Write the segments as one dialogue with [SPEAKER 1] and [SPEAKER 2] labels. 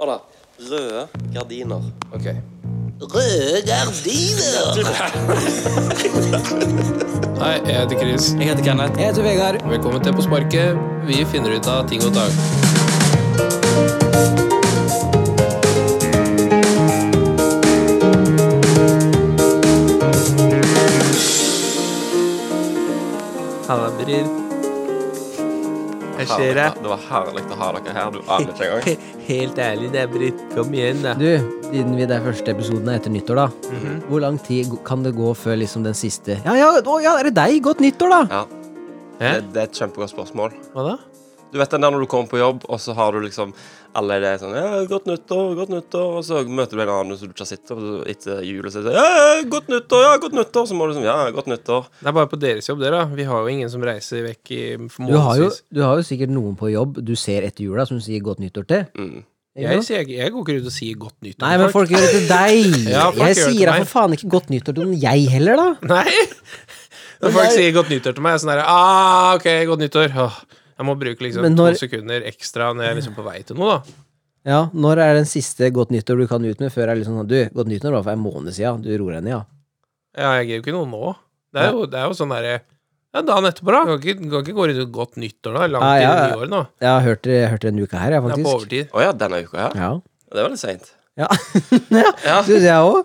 [SPEAKER 1] Hør da. Røde gardiner.
[SPEAKER 2] Ok.
[SPEAKER 1] Røde gardiner!
[SPEAKER 2] Hei, jeg heter Chris.
[SPEAKER 1] Jeg heter Kenneth.
[SPEAKER 3] Jeg heter Vegard.
[SPEAKER 2] Velkommen til På sparket. Vi finner ut av ting og tang.
[SPEAKER 3] Halla, bror. Hva skjer da?
[SPEAKER 4] Det var herlig å ha dere her. Du aner ikke engang.
[SPEAKER 3] Helt ærlig, det er Britt. Kom igjen, da.
[SPEAKER 5] Du, siden vi det er første episoden er etter nyttår, da. Hvor lang tid kan det gå før liksom den siste Mhm. Ja, ja, å, ja, er det deg? Godt nyttår, da!
[SPEAKER 4] Ja, det,
[SPEAKER 3] Hæ?
[SPEAKER 4] det er et kjempegodt spørsmål.
[SPEAKER 3] Hva da?
[SPEAKER 4] Du vet den der når du kommer på jobb, og så har du liksom alle er det sånn ja, 'Godt nyttår, godt nyttår', og så møter du en annen som du ikke har sett og så etter jul og så sier du, ja, ja, 'Godt nyttår, ja, godt nyttår', så må du sånn 'Ja, godt nyttår'.
[SPEAKER 3] Det er bare på deres jobb, dere. da. Vi har jo ingen som reiser vekk i
[SPEAKER 5] Du har, jo,
[SPEAKER 3] månedsvis.
[SPEAKER 5] du har jo sikkert noen på jobb du ser etter jula som du sier godt nyttår til.
[SPEAKER 4] Mm.
[SPEAKER 5] Ikke
[SPEAKER 3] Jeg,
[SPEAKER 5] sant?
[SPEAKER 3] sier- jeg går ikke ut og sier godt nytt
[SPEAKER 5] Nei, men folk gjør det til deg!
[SPEAKER 3] Ja, folk gjør
[SPEAKER 5] jeg
[SPEAKER 3] det til
[SPEAKER 5] sier da
[SPEAKER 3] meg.
[SPEAKER 5] for faen ikke godt nyttår til noen jeg heller, da!
[SPEAKER 3] Nei! Når
[SPEAKER 5] Men
[SPEAKER 3] folk
[SPEAKER 5] det er-
[SPEAKER 3] sier godt nyttår til meg, jeg er sånn derre ah, Ok, godt nyttår. Åh, jeg må bruke liksom
[SPEAKER 5] Men når-
[SPEAKER 3] to sekunder ekstra når jeg er liksom på vei til noe, da.
[SPEAKER 5] Ja, Når er den siste godt nyttår du kan ut med, før er det liksom sånn Du, godt nyttår var for en måned siden. Du ror henne, ja.
[SPEAKER 3] Ja, jeg gir jo ikke noe nå. Det er jo, det er jo sånn derre ja, Dagen etterpå, da. Kan ikke, kan ikke gå rundt og godt nyttår, da. Langt
[SPEAKER 5] Ja,
[SPEAKER 3] inn i
[SPEAKER 5] ja, ja.
[SPEAKER 3] nyåret nå.
[SPEAKER 5] Jeg har hørt det, hørt det denne uka her,
[SPEAKER 3] Det
[SPEAKER 5] jeg,
[SPEAKER 3] er på
[SPEAKER 5] faktisk.
[SPEAKER 3] overtid.
[SPEAKER 4] Å ja, denne uka her.
[SPEAKER 5] Ja.
[SPEAKER 4] Det var litt seint.
[SPEAKER 5] Ja.
[SPEAKER 4] Ja.
[SPEAKER 5] Du, jeg òg.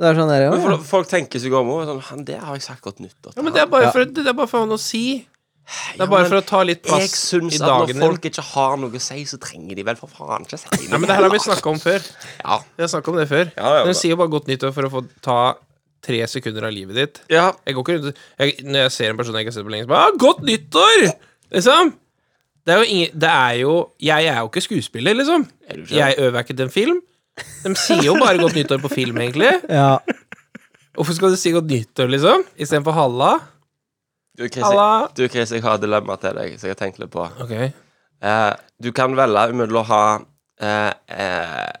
[SPEAKER 5] Det er sånn der,
[SPEAKER 4] Men
[SPEAKER 5] ja.
[SPEAKER 4] fol- folk tenker seg om og er sånn 'Han der har jeg sagt godt nyttår'. til».
[SPEAKER 3] Ja, men det er bare for, det er bare for å ha noe å si. Det
[SPEAKER 4] Ja,
[SPEAKER 3] er bare
[SPEAKER 4] men
[SPEAKER 3] for å ta litt
[SPEAKER 4] Jeg
[SPEAKER 3] plass
[SPEAKER 4] syns
[SPEAKER 3] i
[SPEAKER 4] at når
[SPEAKER 3] dagen din.
[SPEAKER 4] folk ikke har noe å si, så trenger de vel for faen ikke si noe.
[SPEAKER 3] Nei, men det her har vi snakka om før.
[SPEAKER 4] Ja.
[SPEAKER 3] Vi har snakket om det før.
[SPEAKER 4] Ja, ja,
[SPEAKER 3] De
[SPEAKER 4] da.
[SPEAKER 3] sier jo bare 'godt nyttår' for å få ta tre sekunder av livet ditt.
[SPEAKER 4] Ja,
[SPEAKER 3] Jeg går ikke rundt jeg, Når jeg ser en person jeg ikke har sett på lenge, så bare ah, 'Godt nyttår!' Liksom. Det er jo ingen Det er jo Jeg er jo ikke skuespiller, liksom.
[SPEAKER 4] er du ikke det?
[SPEAKER 3] Jeg øver ikke til en film. De sier jo bare 'godt nyttår' på film, egentlig.
[SPEAKER 5] ja.
[SPEAKER 3] Hvorfor skal du si 'godt nyttår', liksom? Istedenfor 'halla'?
[SPEAKER 4] Du, Chris,
[SPEAKER 3] Halla.
[SPEAKER 4] jeg, du, Chris, jeg har et dilemma til deg som jeg har tenkt litt på.
[SPEAKER 3] Ok.
[SPEAKER 4] Eh, du kan velge mellom å ha eh, eh,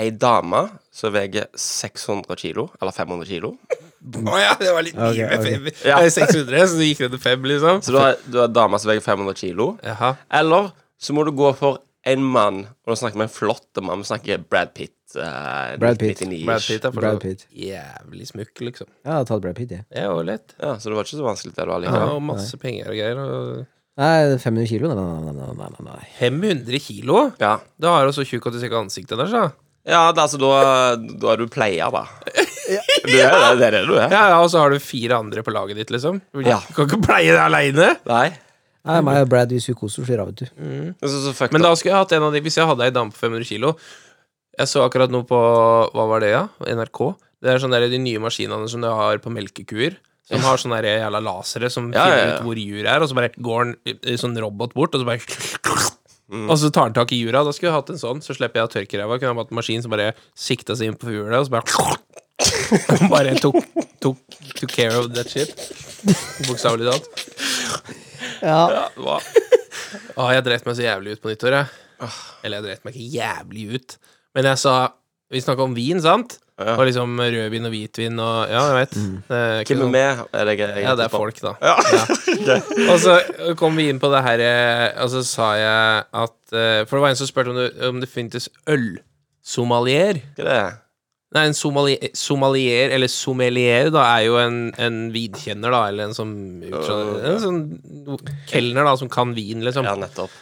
[SPEAKER 4] ei dame som veier 600 kilo, eller 500 kilo.
[SPEAKER 3] Å ja, det var litt
[SPEAKER 5] Ok,
[SPEAKER 3] mye med
[SPEAKER 5] ok.
[SPEAKER 3] fem.
[SPEAKER 4] Ja.
[SPEAKER 3] Det er 600, så det gikk ned til fem, liksom.
[SPEAKER 4] Så du har, du har ei dame som veier 500 kilo.
[SPEAKER 3] Jaha.
[SPEAKER 4] Eller så må du gå for en mann, og da snakker vi en flott mann, vi snakker Brad Pitt. eh,
[SPEAKER 5] Brad Pitt.
[SPEAKER 4] 99 -ish.
[SPEAKER 3] Brad Pitt er for
[SPEAKER 5] Brad
[SPEAKER 3] så vidt
[SPEAKER 5] Pitt.
[SPEAKER 3] jævlig smukk, liksom.
[SPEAKER 5] Jeg har tatt Brad Pitt, jeg.
[SPEAKER 3] Det er jo lett.
[SPEAKER 4] Ja, så det var ikke så vanskelig det du har
[SPEAKER 3] Ja,
[SPEAKER 4] likevel.
[SPEAKER 3] og masse penger og greier. Og
[SPEAKER 5] Nei, 500 kilo? Nei, nei, nei, nei, nei, nei.
[SPEAKER 3] 500 kilo?
[SPEAKER 4] Ja.
[SPEAKER 3] Da har du så tjukk at du ser ikke ansiktet deres, da.
[SPEAKER 4] ja, da, altså da, da er du player, da. Du er det, det er det du er.
[SPEAKER 3] Ja, ja, og så har du fire andre på laget ditt, liksom. Du
[SPEAKER 4] Ja.
[SPEAKER 3] kan ikke pleie det aleine.
[SPEAKER 4] Nei.
[SPEAKER 5] Nei, meg og Brad, hvis vi koser oss, så ravet du.
[SPEAKER 4] Så, så fuck
[SPEAKER 3] Men
[SPEAKER 4] da.
[SPEAKER 3] da skulle jeg hatt en av de, hvis jeg hadde ei dame på 500 kilo Jeg så akkurat noe på Hva var det, ja? NRK? Det er sånn der, de nye maskinene som du har på melkekuer. Som har sånne der jævla lasere som
[SPEAKER 4] Ja, ja,
[SPEAKER 3] finner
[SPEAKER 4] ja.
[SPEAKER 3] ut hvor jur er, og så bare går en eh, sånn robot bort, og så bare
[SPEAKER 4] Mm.
[SPEAKER 3] Og så tar den tak i jura. Da skulle jeg hatt en sånn, så slipper jeg å tørke ræva. Kunne jeg hatt en maskin som bare sikta seg inn på hjulet, og så bare Bare tok, tok, took care of that shit. Bokstavelig talt.
[SPEAKER 5] Ja.
[SPEAKER 4] Det var-
[SPEAKER 3] Å, jeg dreit meg så jævlig ut på nyttår, jeg. Eller jeg dreit meg ikke jævlig ut, men jeg sa Vi snakka om vin, sant?
[SPEAKER 4] Ja.
[SPEAKER 3] Og liksom rødvin og hvitvin og Ja, jeg vet. Det er ikke
[SPEAKER 4] Hvem er
[SPEAKER 3] sånn-
[SPEAKER 4] med? Er det, jeg, jeg,
[SPEAKER 3] Ja, det er folk, da.
[SPEAKER 4] Ja.
[SPEAKER 3] Og så kom vi inn på det her, eh, og så sa jeg at eh, For det var en som spurte om det, om det fintes ølsommelier.
[SPEAKER 4] Hva er det?
[SPEAKER 3] Nei, en sommelier, sommelier eller sommelier, da, er jo en, en vinkjenner, da, eller en som En sånn kelner, da, som kan vin, liksom.
[SPEAKER 4] Ja, nettopp.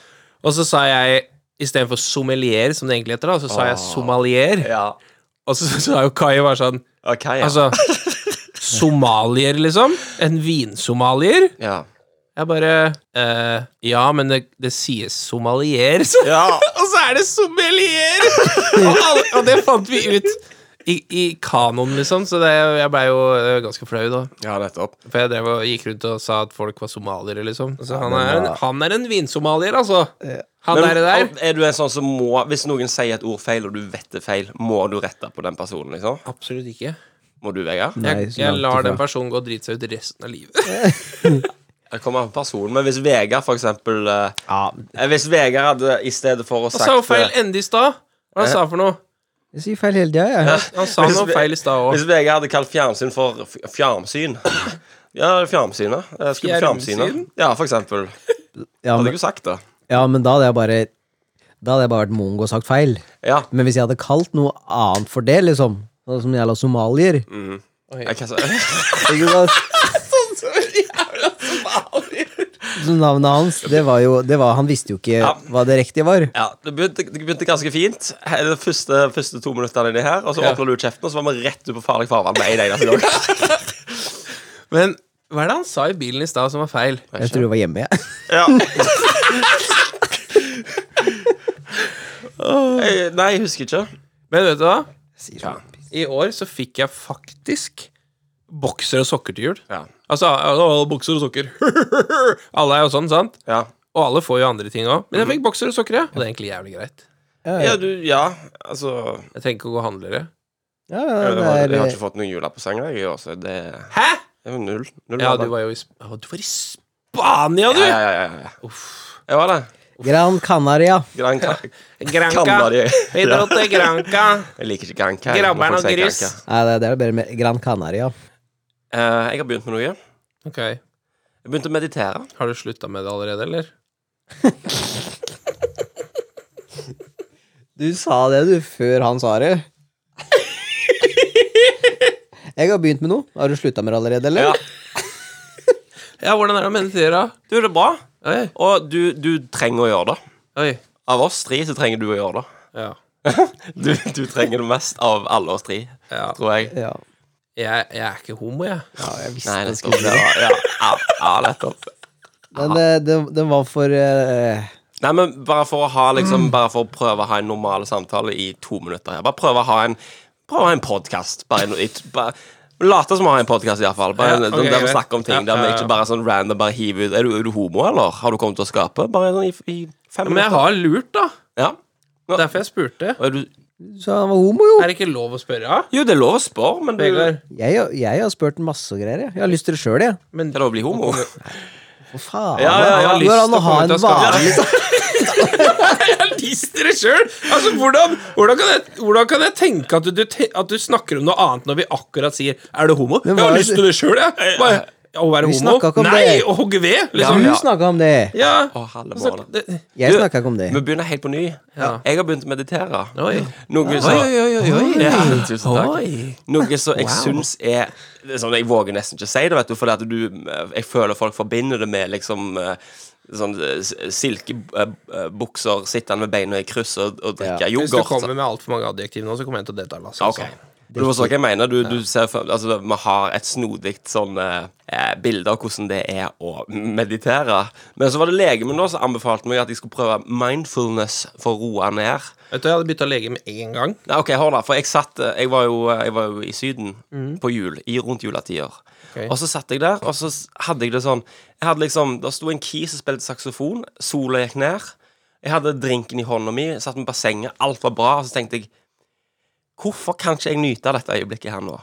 [SPEAKER 3] Og så sa jeg istedenfor sommelier, som det egentlig heter, da, så sa jeg
[SPEAKER 4] Åh.
[SPEAKER 3] sommelier.
[SPEAKER 4] Ja.
[SPEAKER 3] Og så sa jo Kai var sånn
[SPEAKER 4] Ok, ja.
[SPEAKER 3] Altså, somalier, liksom? En vinsomalier?
[SPEAKER 4] ja.
[SPEAKER 3] Jeg bare eh, Ja, men det, det sies somalier, så
[SPEAKER 4] Ja.
[SPEAKER 3] Og så er det sommelier! og, alle, og det fant vi ut i, i kanoen, liksom, så det, jeg blei jo eh, ganske flau, da.
[SPEAKER 4] ja, nettopp.
[SPEAKER 3] For jeg drev og gikk rundt og sa at folk var somaliere, liksom. Så han er en, han er en vinsomalier, altså. Han
[SPEAKER 4] Men
[SPEAKER 3] er det der.
[SPEAKER 4] al- Er du en sånn som må Hvis noen sier et ord feil, og du vet det er feil, må du rette på den personen, liksom?
[SPEAKER 3] Absolutt ikke.
[SPEAKER 4] Må du, Vegard?
[SPEAKER 5] Nei,
[SPEAKER 3] Jeg,
[SPEAKER 5] så
[SPEAKER 3] jeg
[SPEAKER 5] langt
[SPEAKER 3] lar den
[SPEAKER 5] ifra.
[SPEAKER 3] personen gå og drite seg ut resten av livet.
[SPEAKER 4] Jeg kommer an på personen, men hvis Vegard, for eksempel eh, eh, Hvis Vegard hadde i stedet for å
[SPEAKER 3] Han sa jo
[SPEAKER 4] sagt
[SPEAKER 3] feil
[SPEAKER 4] eh,
[SPEAKER 3] ende i stad. Hva han sa for noe?
[SPEAKER 5] Jeg sier feil hele tida, jeg.
[SPEAKER 3] Han sa
[SPEAKER 4] Hvis
[SPEAKER 3] noe
[SPEAKER 4] vi-
[SPEAKER 3] feil i stad òg.
[SPEAKER 4] Hvis Vegard hadde kalt fjernsyn for f- fjernsyn Ja, fjernsynet. Eh, Skulle på
[SPEAKER 3] Fjernsyn?
[SPEAKER 4] fjernsynet. Ja, for eksempel.
[SPEAKER 5] Ja,
[SPEAKER 4] Hadde
[SPEAKER 5] men,
[SPEAKER 4] jeg jo sagt det.
[SPEAKER 5] ja, men da hadde jeg bare Da hadde jeg bare vært mongo og sagt feil.
[SPEAKER 4] Ja.
[SPEAKER 5] Men hvis jeg hadde kalt noe annet for det, liksom Sånn som jævla somalier
[SPEAKER 4] Jeg, hva sa-
[SPEAKER 5] ikke sant? Så Navnet hans, det var jo det var, Han visste jo ikke hva det riktige var.
[SPEAKER 4] ja det, begynte, det begynte ganske fint He- de første, første to minuttene inni her, og så åpner du kjeften, og så var vi rett ut på farlig farvann med en eneste gang.
[SPEAKER 3] Men hva er det han sa i bilen i stad som var feil?
[SPEAKER 5] Jeg tror det var hjemme. jeg.
[SPEAKER 4] Ja. Jeg, nei, jeg husker ikke.
[SPEAKER 3] Men vet du hva?
[SPEAKER 5] sånn.
[SPEAKER 3] I år så fikk jeg faktisk bokser og sokker til jul.
[SPEAKER 4] Ja.
[SPEAKER 3] Altså, alle bokser og sokker. alle er jo sånn, sant?
[SPEAKER 4] Ja.
[SPEAKER 3] Og alle får jo andre ting òg. Men
[SPEAKER 4] Mm.
[SPEAKER 3] jeg fikk bokser og sokker, ja. Og det er egentlig jævlig greit.
[SPEAKER 4] Ja, du, ja, altså
[SPEAKER 3] Jeg trenger ikke å gå handlere.
[SPEAKER 5] Ja,
[SPEAKER 4] Jeg, har-
[SPEAKER 5] ja, det
[SPEAKER 4] jeg har
[SPEAKER 5] er, eh,
[SPEAKER 4] ikke fått noen julepresanger i år, så det er
[SPEAKER 3] Hæ?!
[SPEAKER 4] jo null. null
[SPEAKER 3] Ja,
[SPEAKER 4] jula.
[SPEAKER 3] du var jo i, Sp Å, du var i Spania, du!
[SPEAKER 4] ja, ja, ja, ja, ja. Jeg var det.
[SPEAKER 5] Gran Canaria.
[SPEAKER 4] Gran Ca-
[SPEAKER 3] Granca.
[SPEAKER 4] Canaria.
[SPEAKER 3] Vi dro til Granca.
[SPEAKER 4] Jeg liker ikke Gran Canaria.
[SPEAKER 3] Grabberen
[SPEAKER 4] Nå får jeg
[SPEAKER 3] og
[SPEAKER 4] si Gran Ca-
[SPEAKER 5] Nei, det er- det er bedre med Gran Canaria.
[SPEAKER 4] Eh, jeg har begynt med noe. Jeg
[SPEAKER 3] Ok,
[SPEAKER 4] begynte å meditere.
[SPEAKER 3] Har du slutta med det allerede, eller?
[SPEAKER 5] Du sa det, du, før han sa det. Jeg har begynt med noe. Har du slutta med det allerede, eller?
[SPEAKER 4] Ja.
[SPEAKER 3] Ja, hvordan er det å meditere?
[SPEAKER 4] Du, det er bra.
[SPEAKER 3] Oi,
[SPEAKER 4] Eh, Og du, du trenger å gjøre det.
[SPEAKER 3] oi.
[SPEAKER 4] Av oss tre så trenger du å gjøre det.
[SPEAKER 3] Ja.
[SPEAKER 4] Du, du trenger det mest av alle oss tre,
[SPEAKER 3] Ja.
[SPEAKER 4] tror jeg.
[SPEAKER 5] Ja.
[SPEAKER 3] Jeg, jeg er ikke homo, jeg.
[SPEAKER 5] Ja, jeg visste
[SPEAKER 4] Nei,
[SPEAKER 5] det
[SPEAKER 4] nettopp.
[SPEAKER 5] skulle
[SPEAKER 4] Ja, ja, ja, ja, nettopp.
[SPEAKER 5] Men eh, den, den var for eh,
[SPEAKER 4] Nei, men bare for å ha
[SPEAKER 3] Mm.
[SPEAKER 4] liksom Bare for å prøve å ha en normal samtale i to minutter her. Bare prøve å ha en Prøve å ha en podkast. Bare, en- i t- bare Late som å ha en podkast, iallfall.
[SPEAKER 3] Ja,
[SPEAKER 4] Bare en-
[SPEAKER 3] ok,
[SPEAKER 4] der vi
[SPEAKER 3] greit.
[SPEAKER 4] snakker om ting.
[SPEAKER 3] Ja,
[SPEAKER 4] Der vi
[SPEAKER 3] ja, ja.
[SPEAKER 4] ikke bare sånn random bare hiver ut Er du, er du homo, eller? Har du kommet til å skape? Bare sånn i, i fem
[SPEAKER 3] Men
[SPEAKER 4] minutter.
[SPEAKER 3] jeg har lurt, da.
[SPEAKER 4] Ja.
[SPEAKER 3] Derfor jeg spurte.
[SPEAKER 4] Og Er du,
[SPEAKER 5] Du sa han var homo, jo.
[SPEAKER 3] Er det ikke lov å spørre?
[SPEAKER 4] jo, det er lov å spørre, men du
[SPEAKER 3] Vegard?
[SPEAKER 5] Jeg, jeg har spurt en masse greier. Jeg Jeg har lyst til det sjøl, jeg.
[SPEAKER 4] Er det lov å bli homo?
[SPEAKER 5] Hva faen?
[SPEAKER 4] Ja, ja, jeg har
[SPEAKER 5] det går an å ha en
[SPEAKER 3] lyst til å komme ut av
[SPEAKER 5] vanlig
[SPEAKER 3] Realist dere sjøl! Altså, hvordan, hvordan, kan jeg- hvordan kan jeg tenke at du, du, te- at du snakker om noe annet når vi akkurat sier 'er du homo'? Jeg
[SPEAKER 5] Men
[SPEAKER 3] har
[SPEAKER 5] hva-
[SPEAKER 3] lyst til det sjøl, jeg. Bare, ja, å være
[SPEAKER 5] Vi
[SPEAKER 3] homo?
[SPEAKER 5] snakka ikke om
[SPEAKER 3] Nei,
[SPEAKER 5] det.
[SPEAKER 3] å hogge ved? Liksom.
[SPEAKER 5] Du
[SPEAKER 4] Ja.
[SPEAKER 5] snakka om det.
[SPEAKER 3] Ja.
[SPEAKER 4] Å, halve
[SPEAKER 3] Altså,
[SPEAKER 4] måned.
[SPEAKER 3] det,
[SPEAKER 5] Jeg
[SPEAKER 4] Du-
[SPEAKER 5] snakka ikke om det.
[SPEAKER 4] Vi begynner helt på ny.
[SPEAKER 3] Ja.
[SPEAKER 4] Jeg har begynt å meditere.
[SPEAKER 3] Oi.
[SPEAKER 4] Noe som,
[SPEAKER 3] Oi, oi, oi, oi.
[SPEAKER 4] Ja, tusen takk.
[SPEAKER 3] Oi.
[SPEAKER 4] Noe som jeg syns er det er sånn, Jeg våger nesten ikke si det, vet du, fordi at du Jeg føler folk forbinder det med liksom eh, Sånn silkebukser, sittende med beina i kryss og, og drikke
[SPEAKER 3] Hvis du
[SPEAKER 4] yoghurt.
[SPEAKER 3] kommer med altfor mange adjektiv nå, så kommer jeg til å delta. Lasse,
[SPEAKER 4] Ok.
[SPEAKER 3] altså.
[SPEAKER 4] Du forstår hva jeg mener? Du, du ser, for- altså, vi har et snodig sånn eh, bilde av hvordan det er å meditere. Men så var det legen min nå som anbefalte meg at jeg skulle prøve mindfulness for å roe ned.
[SPEAKER 3] Vet du, Jeg hadde bytta lege med en gang.
[SPEAKER 4] Nei, ok, hold da, for jeg satt eh, Jeg var jo, eh, jeg var jo i Syden på jul, i rundt juletider.
[SPEAKER 3] Ok.
[SPEAKER 4] Og så satt jeg der, og så s- hadde jeg det sånn Jeg hadde liksom, Der sto en key som spilte saksofon, sola gikk ned. Jeg hadde drinken i hånda mi, satt med bassenget, alt var bra. Og så tenkte jeg Hvorfor kan ikke jeg nyte dette øyeblikket her nå?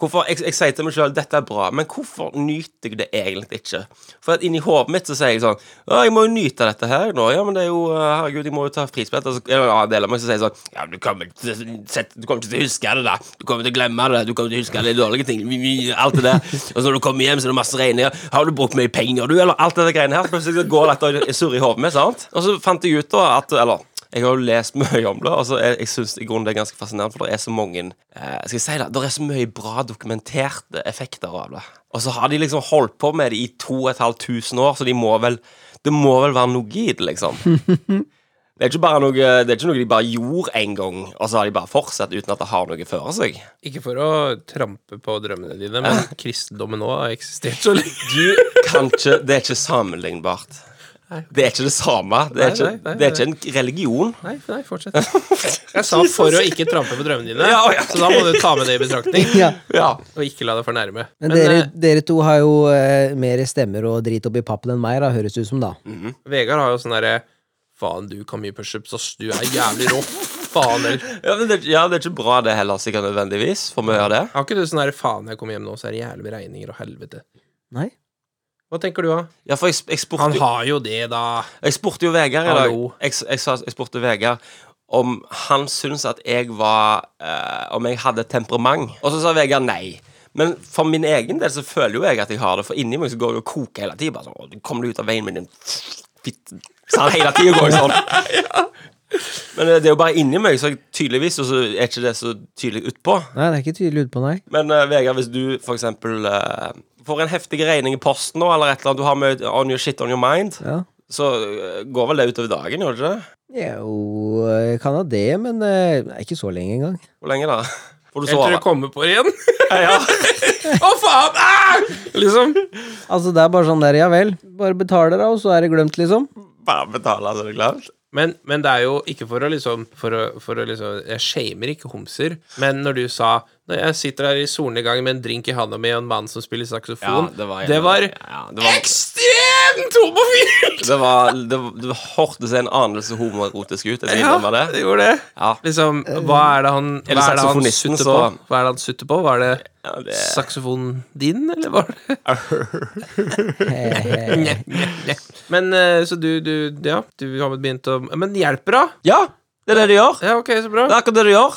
[SPEAKER 4] Hvorfor, jeg, jeg sier til meg sjøl dette er bra, men hvorfor nyter jeg det egentlig ikke? For at inni hodet mitt så sier jeg sånn Å, jeg må jo nyte dette her nå. Ja, men det er jo eh, Herregud, jeg må jo ta frispill. Og så er det en annen del av meg som sier sånn Ja, men du kommer, ikke til å sette- du kommer ikke til å huske det, da. Du kommer til å glemme det. Du kommer til å huske alle de dårlige ting. vi- vi- Alt det der. Og så når du kommer hjem, så er det masse regninger. Har du brukt mye penger, du? Eller alt det der greiene her. Så Plutselig så går dette og surrer i hodet mitt, sant? Og så fant jeg ut da at Eller jeg har jo lest mye om det, og så jeg, jeg synes i grunnen det er ganske fascinerende, for det er så mange eh, Skal jeg si det, det er så mye bra dokumenterte effekter av det. Og så har de liksom holdt på med det i 2500 år, så de må vel Det må vel være noe i det, liksom. Det er ikke bare noe Det er ikke noe de bare gjorde en gang, og så har de bare fortsatt uten at det har noe for seg.
[SPEAKER 3] Ikke for å trampe på drømmene dine, men kristendommen òg har eksistert så lenge.
[SPEAKER 4] Du kan ikke Det er ikke sammenlignbart. Det er ikke det samme. Det er
[SPEAKER 3] Nei,
[SPEAKER 4] ikke,
[SPEAKER 3] nei, nei,
[SPEAKER 4] det er ikke en religion.
[SPEAKER 3] Nei, nei, fortsett. Jeg sa for å ikke trampe på drømmene dine,
[SPEAKER 4] Ja, ja, ok.
[SPEAKER 3] så da må du ta med det i betraktning.
[SPEAKER 5] Ja.
[SPEAKER 4] Ja.
[SPEAKER 3] Og ikke la deg fornærme.
[SPEAKER 5] Men,
[SPEAKER 3] Men,
[SPEAKER 5] dere,
[SPEAKER 3] eh,
[SPEAKER 5] dere to har jo eh, mer stemmer og drit oppi pappen enn meg, da, høres det ut som, da.
[SPEAKER 3] Vegard har jo sånn derre Faen, du kan mye pushups, ass. Du er jævlig rå. Faen heller.
[SPEAKER 4] Ja, men det, er- ja, det er ikke bra det heller, sikkert nødvendigvis, for mye av det.
[SPEAKER 3] Har ikke du sånn derre faen, jeg kommer hjem nå, så er det jævlig beregninger og helvete.
[SPEAKER 5] Nei.
[SPEAKER 3] Hva tenker du, da?
[SPEAKER 4] Ja, for jeg, sp- jeg, spurte,
[SPEAKER 3] Han
[SPEAKER 4] jo-
[SPEAKER 3] har jo det, da.
[SPEAKER 4] jeg spurte jo Vegard i dag
[SPEAKER 3] Hallo.
[SPEAKER 4] jeg, s- jeg, sa- jeg spurte Vegard om han syntes at jeg var eh, Om jeg hadde temperament. Og så sa Vegard nei. Men for min egen del så føler jo jeg at jeg har det, for inni meg så går det og koker hele tiden. Bare sånn, «Å, du kommer deg ut av veien min, din fitte». Sånn hele tiden går jeg sånn. Men eh, det er jo bare inni meg, så jeg- tydeligvis, og så er ikke det så tydelig utpå.
[SPEAKER 5] Nei, det er ikke tydelig ute på nei.
[SPEAKER 4] Men eh, Vegard, hvis du for eksempel eh, får en heftig regning i posten nå, eller et eller annet, du har med on your shit on your mind,
[SPEAKER 5] Ja.
[SPEAKER 4] så eh, går vel det utover dagen, gjør det ikke det?
[SPEAKER 5] Jo, jeg kan ha det, men eh, nei, ikke så lenge engang.
[SPEAKER 4] Hvor lenge da? Får du
[SPEAKER 3] Helt til
[SPEAKER 4] sove?
[SPEAKER 3] det kommer på det igjen. Å, faen! Ah! Liksom.
[SPEAKER 5] Altså, det er bare sånn der, ja vel. Bare betaler, da, og så er det glemt, liksom.
[SPEAKER 4] Bare betale, så er det klart.
[SPEAKER 3] Men, men det er jo ikke for å liksom For å, for å liksom Jeg shamer ikke homser, men når du sa Når jeg sitter her i solnedgangen med en drink i handa mi og en mann som spiller saksofon Det var
[SPEAKER 4] ja, det var,
[SPEAKER 3] ekstremt homofilt!
[SPEAKER 4] det var, det, det hørtes en anelse homoerotisk ut. Jeg skal innrømme det.
[SPEAKER 3] det gjorde det.
[SPEAKER 4] Ja.
[SPEAKER 3] Liksom, hva er det han
[SPEAKER 4] Eller
[SPEAKER 3] Hva er det han
[SPEAKER 4] saksofonisten,
[SPEAKER 3] sutter på?
[SPEAKER 4] så-
[SPEAKER 3] Hva er det han sutter på? Var det,
[SPEAKER 4] Ja, det-
[SPEAKER 3] saksofonen din, eller var det
[SPEAKER 5] Eh,
[SPEAKER 3] Nje, nje, nje. Men eh, så du, du Ja, du har begynt å Men hjelper, da?
[SPEAKER 4] Ja, det er det de gjør.
[SPEAKER 3] Ja, ok, så bra.
[SPEAKER 4] Det er akkurat det du gjør.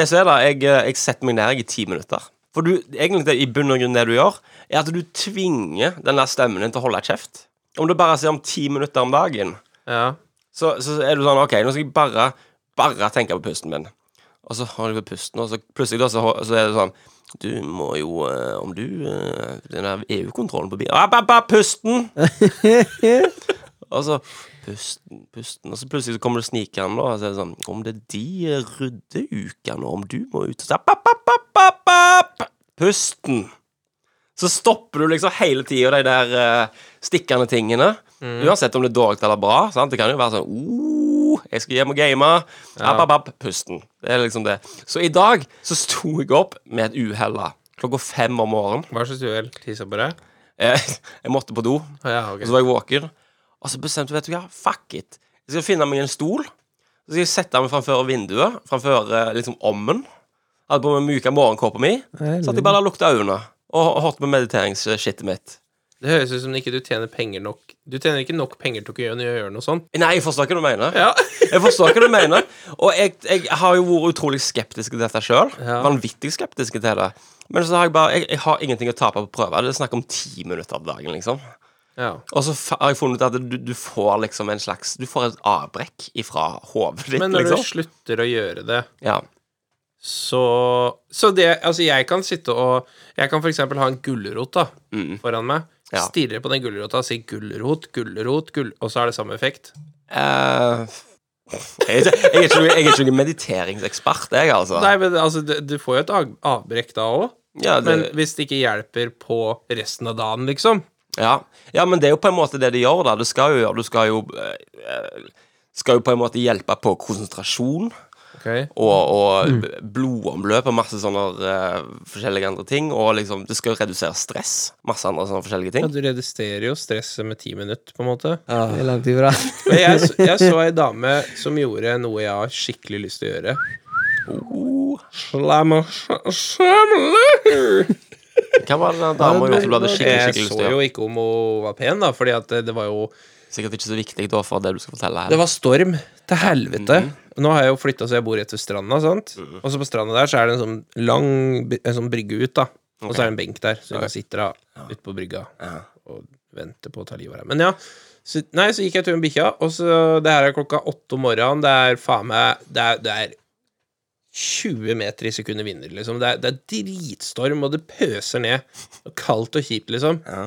[SPEAKER 4] Det som er da, jeg, eh, jeg setter meg ned jeg, i ti minutter. For du, egentlig det, i bunn og grunn det du gjør, er at du tvinger den der stemmen din til å holde kjeft. Om du bare sier om ti minutter om dagen,
[SPEAKER 3] Ja.
[SPEAKER 4] så, så er du sånn OK, nå skal jeg bare, bare tenke på pusten min. Og så holder du på pusten, og så plutselig da, så, så er det sånn Du må jo eh, Om du eh, Den der EU-kontrollen på bilen App, app, app, pusten! og så Pusten, pusten Og så plutselig så kommer det snikende, da, og så er det sånn Om det er de eh, ryddeuka nå, om du må ut og så, app, app, app, app, app, app, Pusten! Så stopper du liksom hele tida de der eh, stikkende tingene. Uansett om det er dårlig eller bra. Sant? Det kan jo være sånn oh, 'Jeg skal hjem og game.' App, app, app. Pusten. Det er liksom det. Så i dag så sto jeg opp med et uhell. da. Klokka fem om morgenen.
[SPEAKER 3] Hva slags uhell? Tissa på deg?
[SPEAKER 4] Eh, jeg måtte på do,
[SPEAKER 3] Å, Ja, ok.
[SPEAKER 4] og så var jeg våken. Og så bestemte jeg vet du hva, fuck it. Jeg skal finne meg en stol. Så skal jeg sette meg framfor vinduet, framfor eh, liksom ommen. Hadde på meg myka morgenkåpa mi. Satt jeg bare der og lukta øynene. Og og hørte på mediteringsskittet mitt.
[SPEAKER 3] Det høres ut som ikke du tjener penger nok Du tjener ikke nok penger til å kunne gjøre gjøre noe sånt.
[SPEAKER 4] Nei, jeg forstår ikke hva du mener.
[SPEAKER 3] Ja.
[SPEAKER 4] Jeg forstår hva du mener. Og jeg, jeg har jo vært utrolig skeptisk til dette sjøl.
[SPEAKER 3] Ja.
[SPEAKER 4] Vanvittig skeptisk til det. Men så har jeg bare Jeg, jeg har ingenting å tape på å prøve. Det er snakk om ti minutter om dagen, liksom.
[SPEAKER 3] ja.
[SPEAKER 4] Og så fa- har jeg funnet ut at du, du får liksom en slags Du får et avbrekk ifra hodet ditt,
[SPEAKER 3] Men når du
[SPEAKER 4] liksom.
[SPEAKER 3] slutter å gjøre det,
[SPEAKER 4] Ja.
[SPEAKER 3] så Så det Altså, jeg kan sitte og Jeg kan for eksempel ha en gulrot da
[SPEAKER 4] Mm.
[SPEAKER 3] foran meg.
[SPEAKER 4] Ja.
[SPEAKER 3] Stirre på den gulrota og si 'gulrot, gulrot', gul... og så er det samme effekt.
[SPEAKER 4] Eh, jeg, er ikke, jeg, er ikke, noe- jeg er ikke noen mediteringsekspert, jeg, altså.
[SPEAKER 3] Nei, men altså, du, du får jo et av- avbrekk da òg.
[SPEAKER 4] Ja, det,
[SPEAKER 3] Men hvis det ikke hjelper på resten av dagen, liksom.
[SPEAKER 4] Ja. ja, men det er jo på en måte det de gjør, da. Du skal jo, gjøre- du skal jo, eh, eh, skal jo på en måte hjelpe på konsentrasjon og, og blodomløp og masse sånne eh, forskjellige andre ting. Og liksom, det skal jo redusere stress. Masse andre sånne forskjellige
[SPEAKER 3] Ja,
[SPEAKER 4] ting.
[SPEAKER 3] du reduserer jo stresset med ti minutter, på en måte.
[SPEAKER 4] Ah.
[SPEAKER 5] det er Langt ifra.
[SPEAKER 3] Men jeg, så- jeg så ei dame som gjorde noe jeg har skikkelig lyst til å gjøre.
[SPEAKER 4] Oh.
[SPEAKER 3] Slamma shamla.
[SPEAKER 4] Eh, Hva var det den dama gjorde som du hadde skikkelig
[SPEAKER 3] Jeg
[SPEAKER 4] skikkelig lyst til
[SPEAKER 3] så
[SPEAKER 4] å
[SPEAKER 3] jo
[SPEAKER 4] gjøre?
[SPEAKER 3] ikke om hun var pen, da, fordi at det, det var jo
[SPEAKER 4] Sikkert ikke så viktig da for det du skal fortelle
[SPEAKER 3] Det
[SPEAKER 4] her.
[SPEAKER 3] var storm til helvete. Mm. Nå har jeg jo flytta, så jeg bor rett ved stranda. sant? Og så på stranda der så er det en sånn lang br- en sånn brygge ut, da. Og så er det en benk der, så du kan sitte da ute på brygga og vente på å ta livet av deg. Men ja. Så, nei, så gikk jeg tur med bikkja, og så Det her er klokka åtte om morgenen. Det er faen meg Det er, det er 20 meter i sekundet vinder, liksom. Det er, det er dritstorm, og det pøser ned. Og kaldt og kjipt, liksom.
[SPEAKER 4] Ja.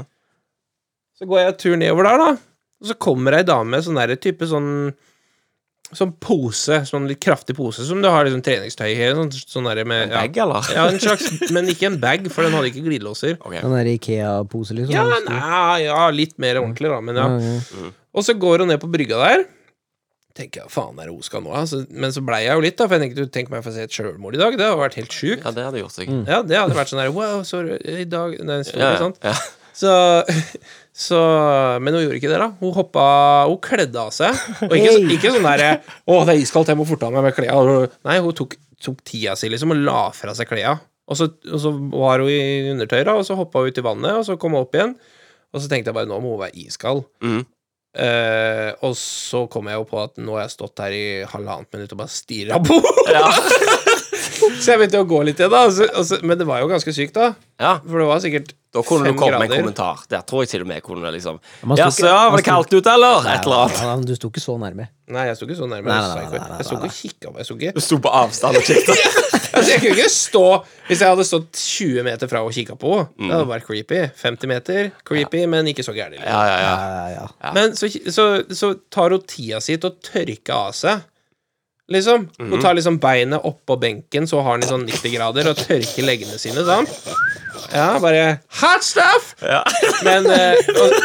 [SPEAKER 3] Så går jeg en tur nedover der, da. Og så kommer ei dame med sånn der type sånn Sånn pose, sånn litt kraftig pose som du har liksom treningstøy i. Sånn, sånn der med ja.
[SPEAKER 4] Bag, eller?
[SPEAKER 3] ja, en slags, men ikke en bag, for den hadde ikke glidelåser.
[SPEAKER 5] Den Sånn der Ikea-pose, liksom.
[SPEAKER 3] Ja, nei, ja, litt mer ordentlig, da, men ja.
[SPEAKER 5] ja.
[SPEAKER 3] Og så går hun ned på brygga der. Tenker jeg, faen er det hun skal nå? Altså, men så blei jeg jo litt, da, for jeg tenkte, tenk meg å få se et sjølmord i dag. Det hadde vært helt sjukt.
[SPEAKER 4] Ja, det hadde gjort seg.
[SPEAKER 3] Ja, det hadde vært sånn der wow, sorry, i dag Nei, sorry,
[SPEAKER 4] Ja, ja,
[SPEAKER 3] sant?
[SPEAKER 4] ja.
[SPEAKER 3] Så, så Men hun gjorde ikke det, da. Hun hoppa Hun kledde av seg. Og ikke, så- ikke sånn derre 'Å, det er iskaldt, jeg må forte av meg med klærne'. Nei, hun tok, tok tida si, liksom, og la fra seg klærne. Og, så- og så var hun i undertøy, da, og så hoppa hun ut i vannet, og så kom hun opp igjen. Og så tenkte jeg bare 'Nå må hun være iskald'.
[SPEAKER 4] Mhm.
[SPEAKER 3] Eh, og så kom jeg jo på at nå har jeg stått her i halvannet minutt og bare stirra på henne. Så jeg begynte å gå litt igjen, da. og så- og så- men det var jo ganske sykt, da.
[SPEAKER 4] Ja.
[SPEAKER 3] For det var sikkert
[SPEAKER 4] Da kunne
[SPEAKER 3] fem
[SPEAKER 4] du komme med en
[SPEAKER 3] grader.
[SPEAKER 4] kommentar. Der tror jeg til og med jeg kunne liksom
[SPEAKER 5] man
[SPEAKER 4] Ja,
[SPEAKER 5] sto
[SPEAKER 4] så
[SPEAKER 5] ikke-
[SPEAKER 4] ja, var
[SPEAKER 5] man
[SPEAKER 4] det
[SPEAKER 5] sto-
[SPEAKER 4] kaldt ute, eller? Et eller annet.
[SPEAKER 5] Ja, men du sto ikke så nærme.
[SPEAKER 3] Nei, jeg sto ikke så nærme.
[SPEAKER 5] Nei,
[SPEAKER 3] jeg
[SPEAKER 5] nei, nei,
[SPEAKER 3] sto ikke-
[SPEAKER 5] nei, nei,
[SPEAKER 3] Jeg sto ikke og kikka på Jeg sto
[SPEAKER 4] Du
[SPEAKER 3] ikke
[SPEAKER 4] sto på avstand og kikket.
[SPEAKER 3] Altså, jeg kunne ikke stå Hvis jeg hadde stått 20 meter fra og kikka på,
[SPEAKER 5] Mm.
[SPEAKER 3] det hadde vært creepy. 50 meter, creepy, men ikke så gærent.
[SPEAKER 4] Ja, ja, ja.
[SPEAKER 5] Ja, ja.
[SPEAKER 3] Men så, så, så tar hun tida si til å tørke av seg. Liksom.
[SPEAKER 5] Mhm.
[SPEAKER 3] Hun tar liksom beinet oppå benken, så har den i sånn 90 grader, og tørker leggene sine. Sånn. Ja, bare Hot stuff!
[SPEAKER 4] ja.
[SPEAKER 3] Men, eh, og,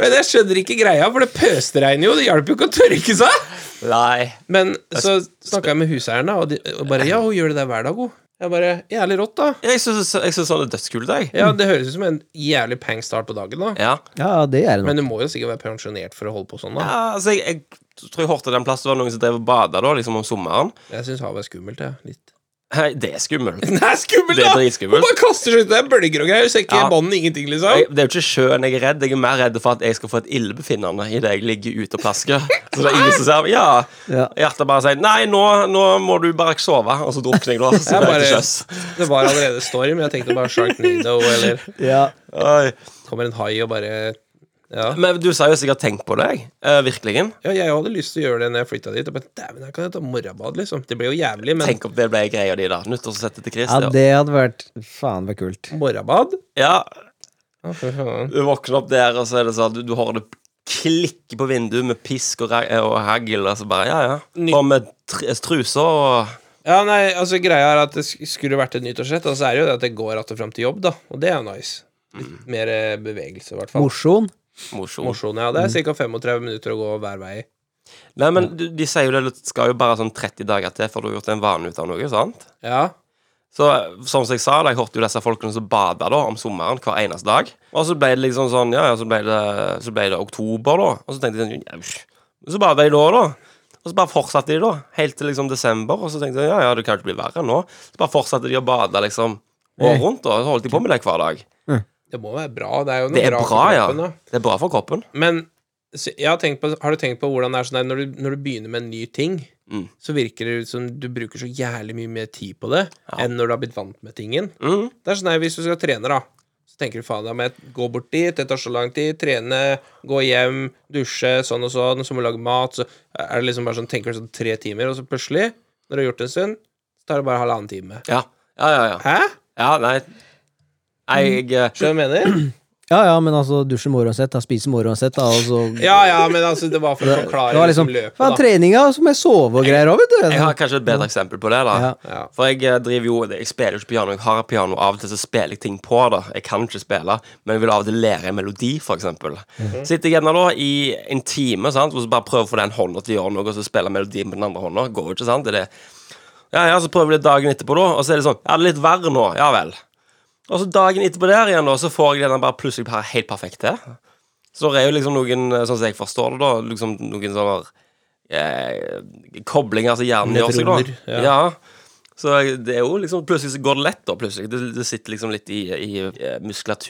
[SPEAKER 3] men jeg skjønner ikke greia, for det pøsregner jo. Det hjalp jo ikke å tørke seg.
[SPEAKER 4] Nei.
[SPEAKER 3] Men så snakka jeg med huseieren, da, og, de, og bare Ja, hun gjør det der hver dag, hun. Jeg bare Jævlig rått, da. Mm.
[SPEAKER 4] Jeg syns sånn er dødskult, jeg.
[SPEAKER 3] Ja, Det høres ut som en jævlig pang start på dagen, da.
[SPEAKER 4] Ja.
[SPEAKER 5] ja, det er det nok.
[SPEAKER 3] Men du må jo sikkert være pensjonert for å holde på sånn, da.
[SPEAKER 4] Ja, altså, jeg, jeg tror jeg hørte den plassen det var noen som drev og bada da, liksom om sommeren.
[SPEAKER 3] Jeg syns havet er skummelt, jeg. Litt.
[SPEAKER 4] Hei, det er skummelt.
[SPEAKER 3] Det er skummelt,
[SPEAKER 4] Det er
[SPEAKER 3] da!
[SPEAKER 4] dritskummelt.
[SPEAKER 3] Hun bare kaster seg ut der, bølger og greier. Ser ikke
[SPEAKER 4] Ja.
[SPEAKER 3] bånd, ingenting,
[SPEAKER 4] Jeg,
[SPEAKER 3] liksom.
[SPEAKER 4] det er jo ikke sjøen jeg er redd. Jeg er mer redd for at jeg skal få et illebefinnende idet jeg ligger ute og plasker. Så det er ingen som ser meg. Ja.
[SPEAKER 5] Ja.
[SPEAKER 4] Hjertet bare sier 'nei, nå, nå må du bare ikke sove', og så drukner jeg da. Så
[SPEAKER 3] Jeg
[SPEAKER 4] det er til
[SPEAKER 3] bare-
[SPEAKER 4] sjøs.
[SPEAKER 3] Det var allerede storm. Jeg tenkte bare Sharknado, eller
[SPEAKER 5] Ja.
[SPEAKER 4] Oi.
[SPEAKER 3] kommer en hai og bare Ja.
[SPEAKER 4] Men du sa jo sikkert 'tenk på deg'. Uh, virkelig.
[SPEAKER 3] Ja, jeg hadde lyst til å gjøre det når jeg flytta dit. Og bare, Dæven, her kan jeg ta morgenbad, liksom. Det ble jo jævlig, men
[SPEAKER 4] Tenk om det ble greia di, da. Nyttårsforsettet til Chris.
[SPEAKER 5] ja, det hadde vært Faen, det var kult.
[SPEAKER 3] morgenbad?
[SPEAKER 4] Ja,
[SPEAKER 3] Å, fy faen.
[SPEAKER 4] du våkner opp der, og så er det sånn at du, du hører det klikke på vinduet med pisk og, rag- og hagl, og så bare Ja, ja. Og med tr eh, truser og
[SPEAKER 3] Ja, nei, altså Greia er at det sk- skulle vært et nyttårsrett, og så er det jo det at det går att og fram til jobb, da. Og det er jo nice.
[SPEAKER 4] Mm.
[SPEAKER 3] Litt mer eh, bevegelse, i hvert fall.
[SPEAKER 5] Mosjon.
[SPEAKER 4] mosjon.
[SPEAKER 3] Mosjon, ja.
[SPEAKER 4] Mm.
[SPEAKER 3] Det er ca. 35 minutter å gå hver vei.
[SPEAKER 4] Nei, men du, de sier jo det det skal jo bare sånn 30 dager til før du har gjort en vane ut av noe, sant?
[SPEAKER 3] Ja.
[SPEAKER 4] Så som jeg sa, da, jeg hørte jo disse folkene som bada da om sommeren hver eneste dag. Og så ble det liksom sånn, ja, ja, så ble det, så ble det oktober, da. Og så tenkte jeg sånn, ja, pff. så bada jeg da, da. Og så bare fortsatte de, da. Helt til liksom desember. Og så tenkte jeg, ja, ja, det kan jo ikke bli verre nå. Så bare fortsatte de å bade liksom året rundt, da. Så holdt de på med det hver dag.
[SPEAKER 3] Det må være bra. Det er jo noe
[SPEAKER 4] Det er
[SPEAKER 3] for
[SPEAKER 4] bra, ja.
[SPEAKER 3] kroppen, da.
[SPEAKER 4] Det er bra for kroppen.
[SPEAKER 3] Men så jeg har, tenkt på, har du tenkt på hvordan det er sånn der, når, du, når du begynner med en ny ting,
[SPEAKER 4] Mm.
[SPEAKER 3] så virker det ut som du bruker så jævlig mye mer tid på det enn når du har blitt vant med tingen.
[SPEAKER 4] Mm.
[SPEAKER 3] Det er sånn her, Hvis du skal trene, da, så tenker du faen, da må jeg gå bort dit, det tar så lang tid, trene, gå hjem, dusje, sånn og sånn, så må du lage mat, så er det liksom bare sånn, tenker du sånn tre timer, og så plutselig, når du har gjort det en stund, så tar det bare halvannen time.
[SPEAKER 4] Ja. Ja, ja, ja.
[SPEAKER 3] Hæ?
[SPEAKER 4] Ja, nei. Nei, jeg eh,
[SPEAKER 3] Skjønner du hva jeg mener?
[SPEAKER 5] Ja ja, men altså, dusje må uansett, da. Spise må uansett, da, og så
[SPEAKER 3] Ja ja, men altså, det var for å
[SPEAKER 5] Det
[SPEAKER 3] forklare
[SPEAKER 5] var liksom
[SPEAKER 3] liksom, løpet,
[SPEAKER 5] Faen,
[SPEAKER 3] da.
[SPEAKER 5] treninga, og så må jeg sove og greier òg, vet du.
[SPEAKER 4] Jeg har kanskje et bedre eksempel på det, da.
[SPEAKER 5] Ja.
[SPEAKER 3] Ja.
[SPEAKER 4] For jeg eh, driver jo Jeg spiller jo ikke piano. Jeg har piano. Av og til så spiller jeg ting på det. Jeg kan ikke spille, men jeg vil av og til lære en melodi, f.eks. Sitter jeg gjerne da i en time sant? og så bare prøver å få den hånda til å gjøre noe, og så spiller jeg melodien på den andre hånda. Går jo ikke, sant? Det er det. Ja, ja, så prøver vi det dagen etterpå, da, og så er det sånn Ja, det er litt verre nå. Ja vel. Og så dagen etterpå der igjen, da, så får jeg den bare plutselig bare helt perfekt til. Så det er jo liksom noen, eh, sånn som jeg forstår det, da, liksom noen sånne eh, koblinger som hjernen gjør seg, da.
[SPEAKER 3] Nevroner, ja.
[SPEAKER 4] Ja. Så det er jo liksom Plutselig så går det lett, da. plutselig Det, det sitter liksom litt i, i eh,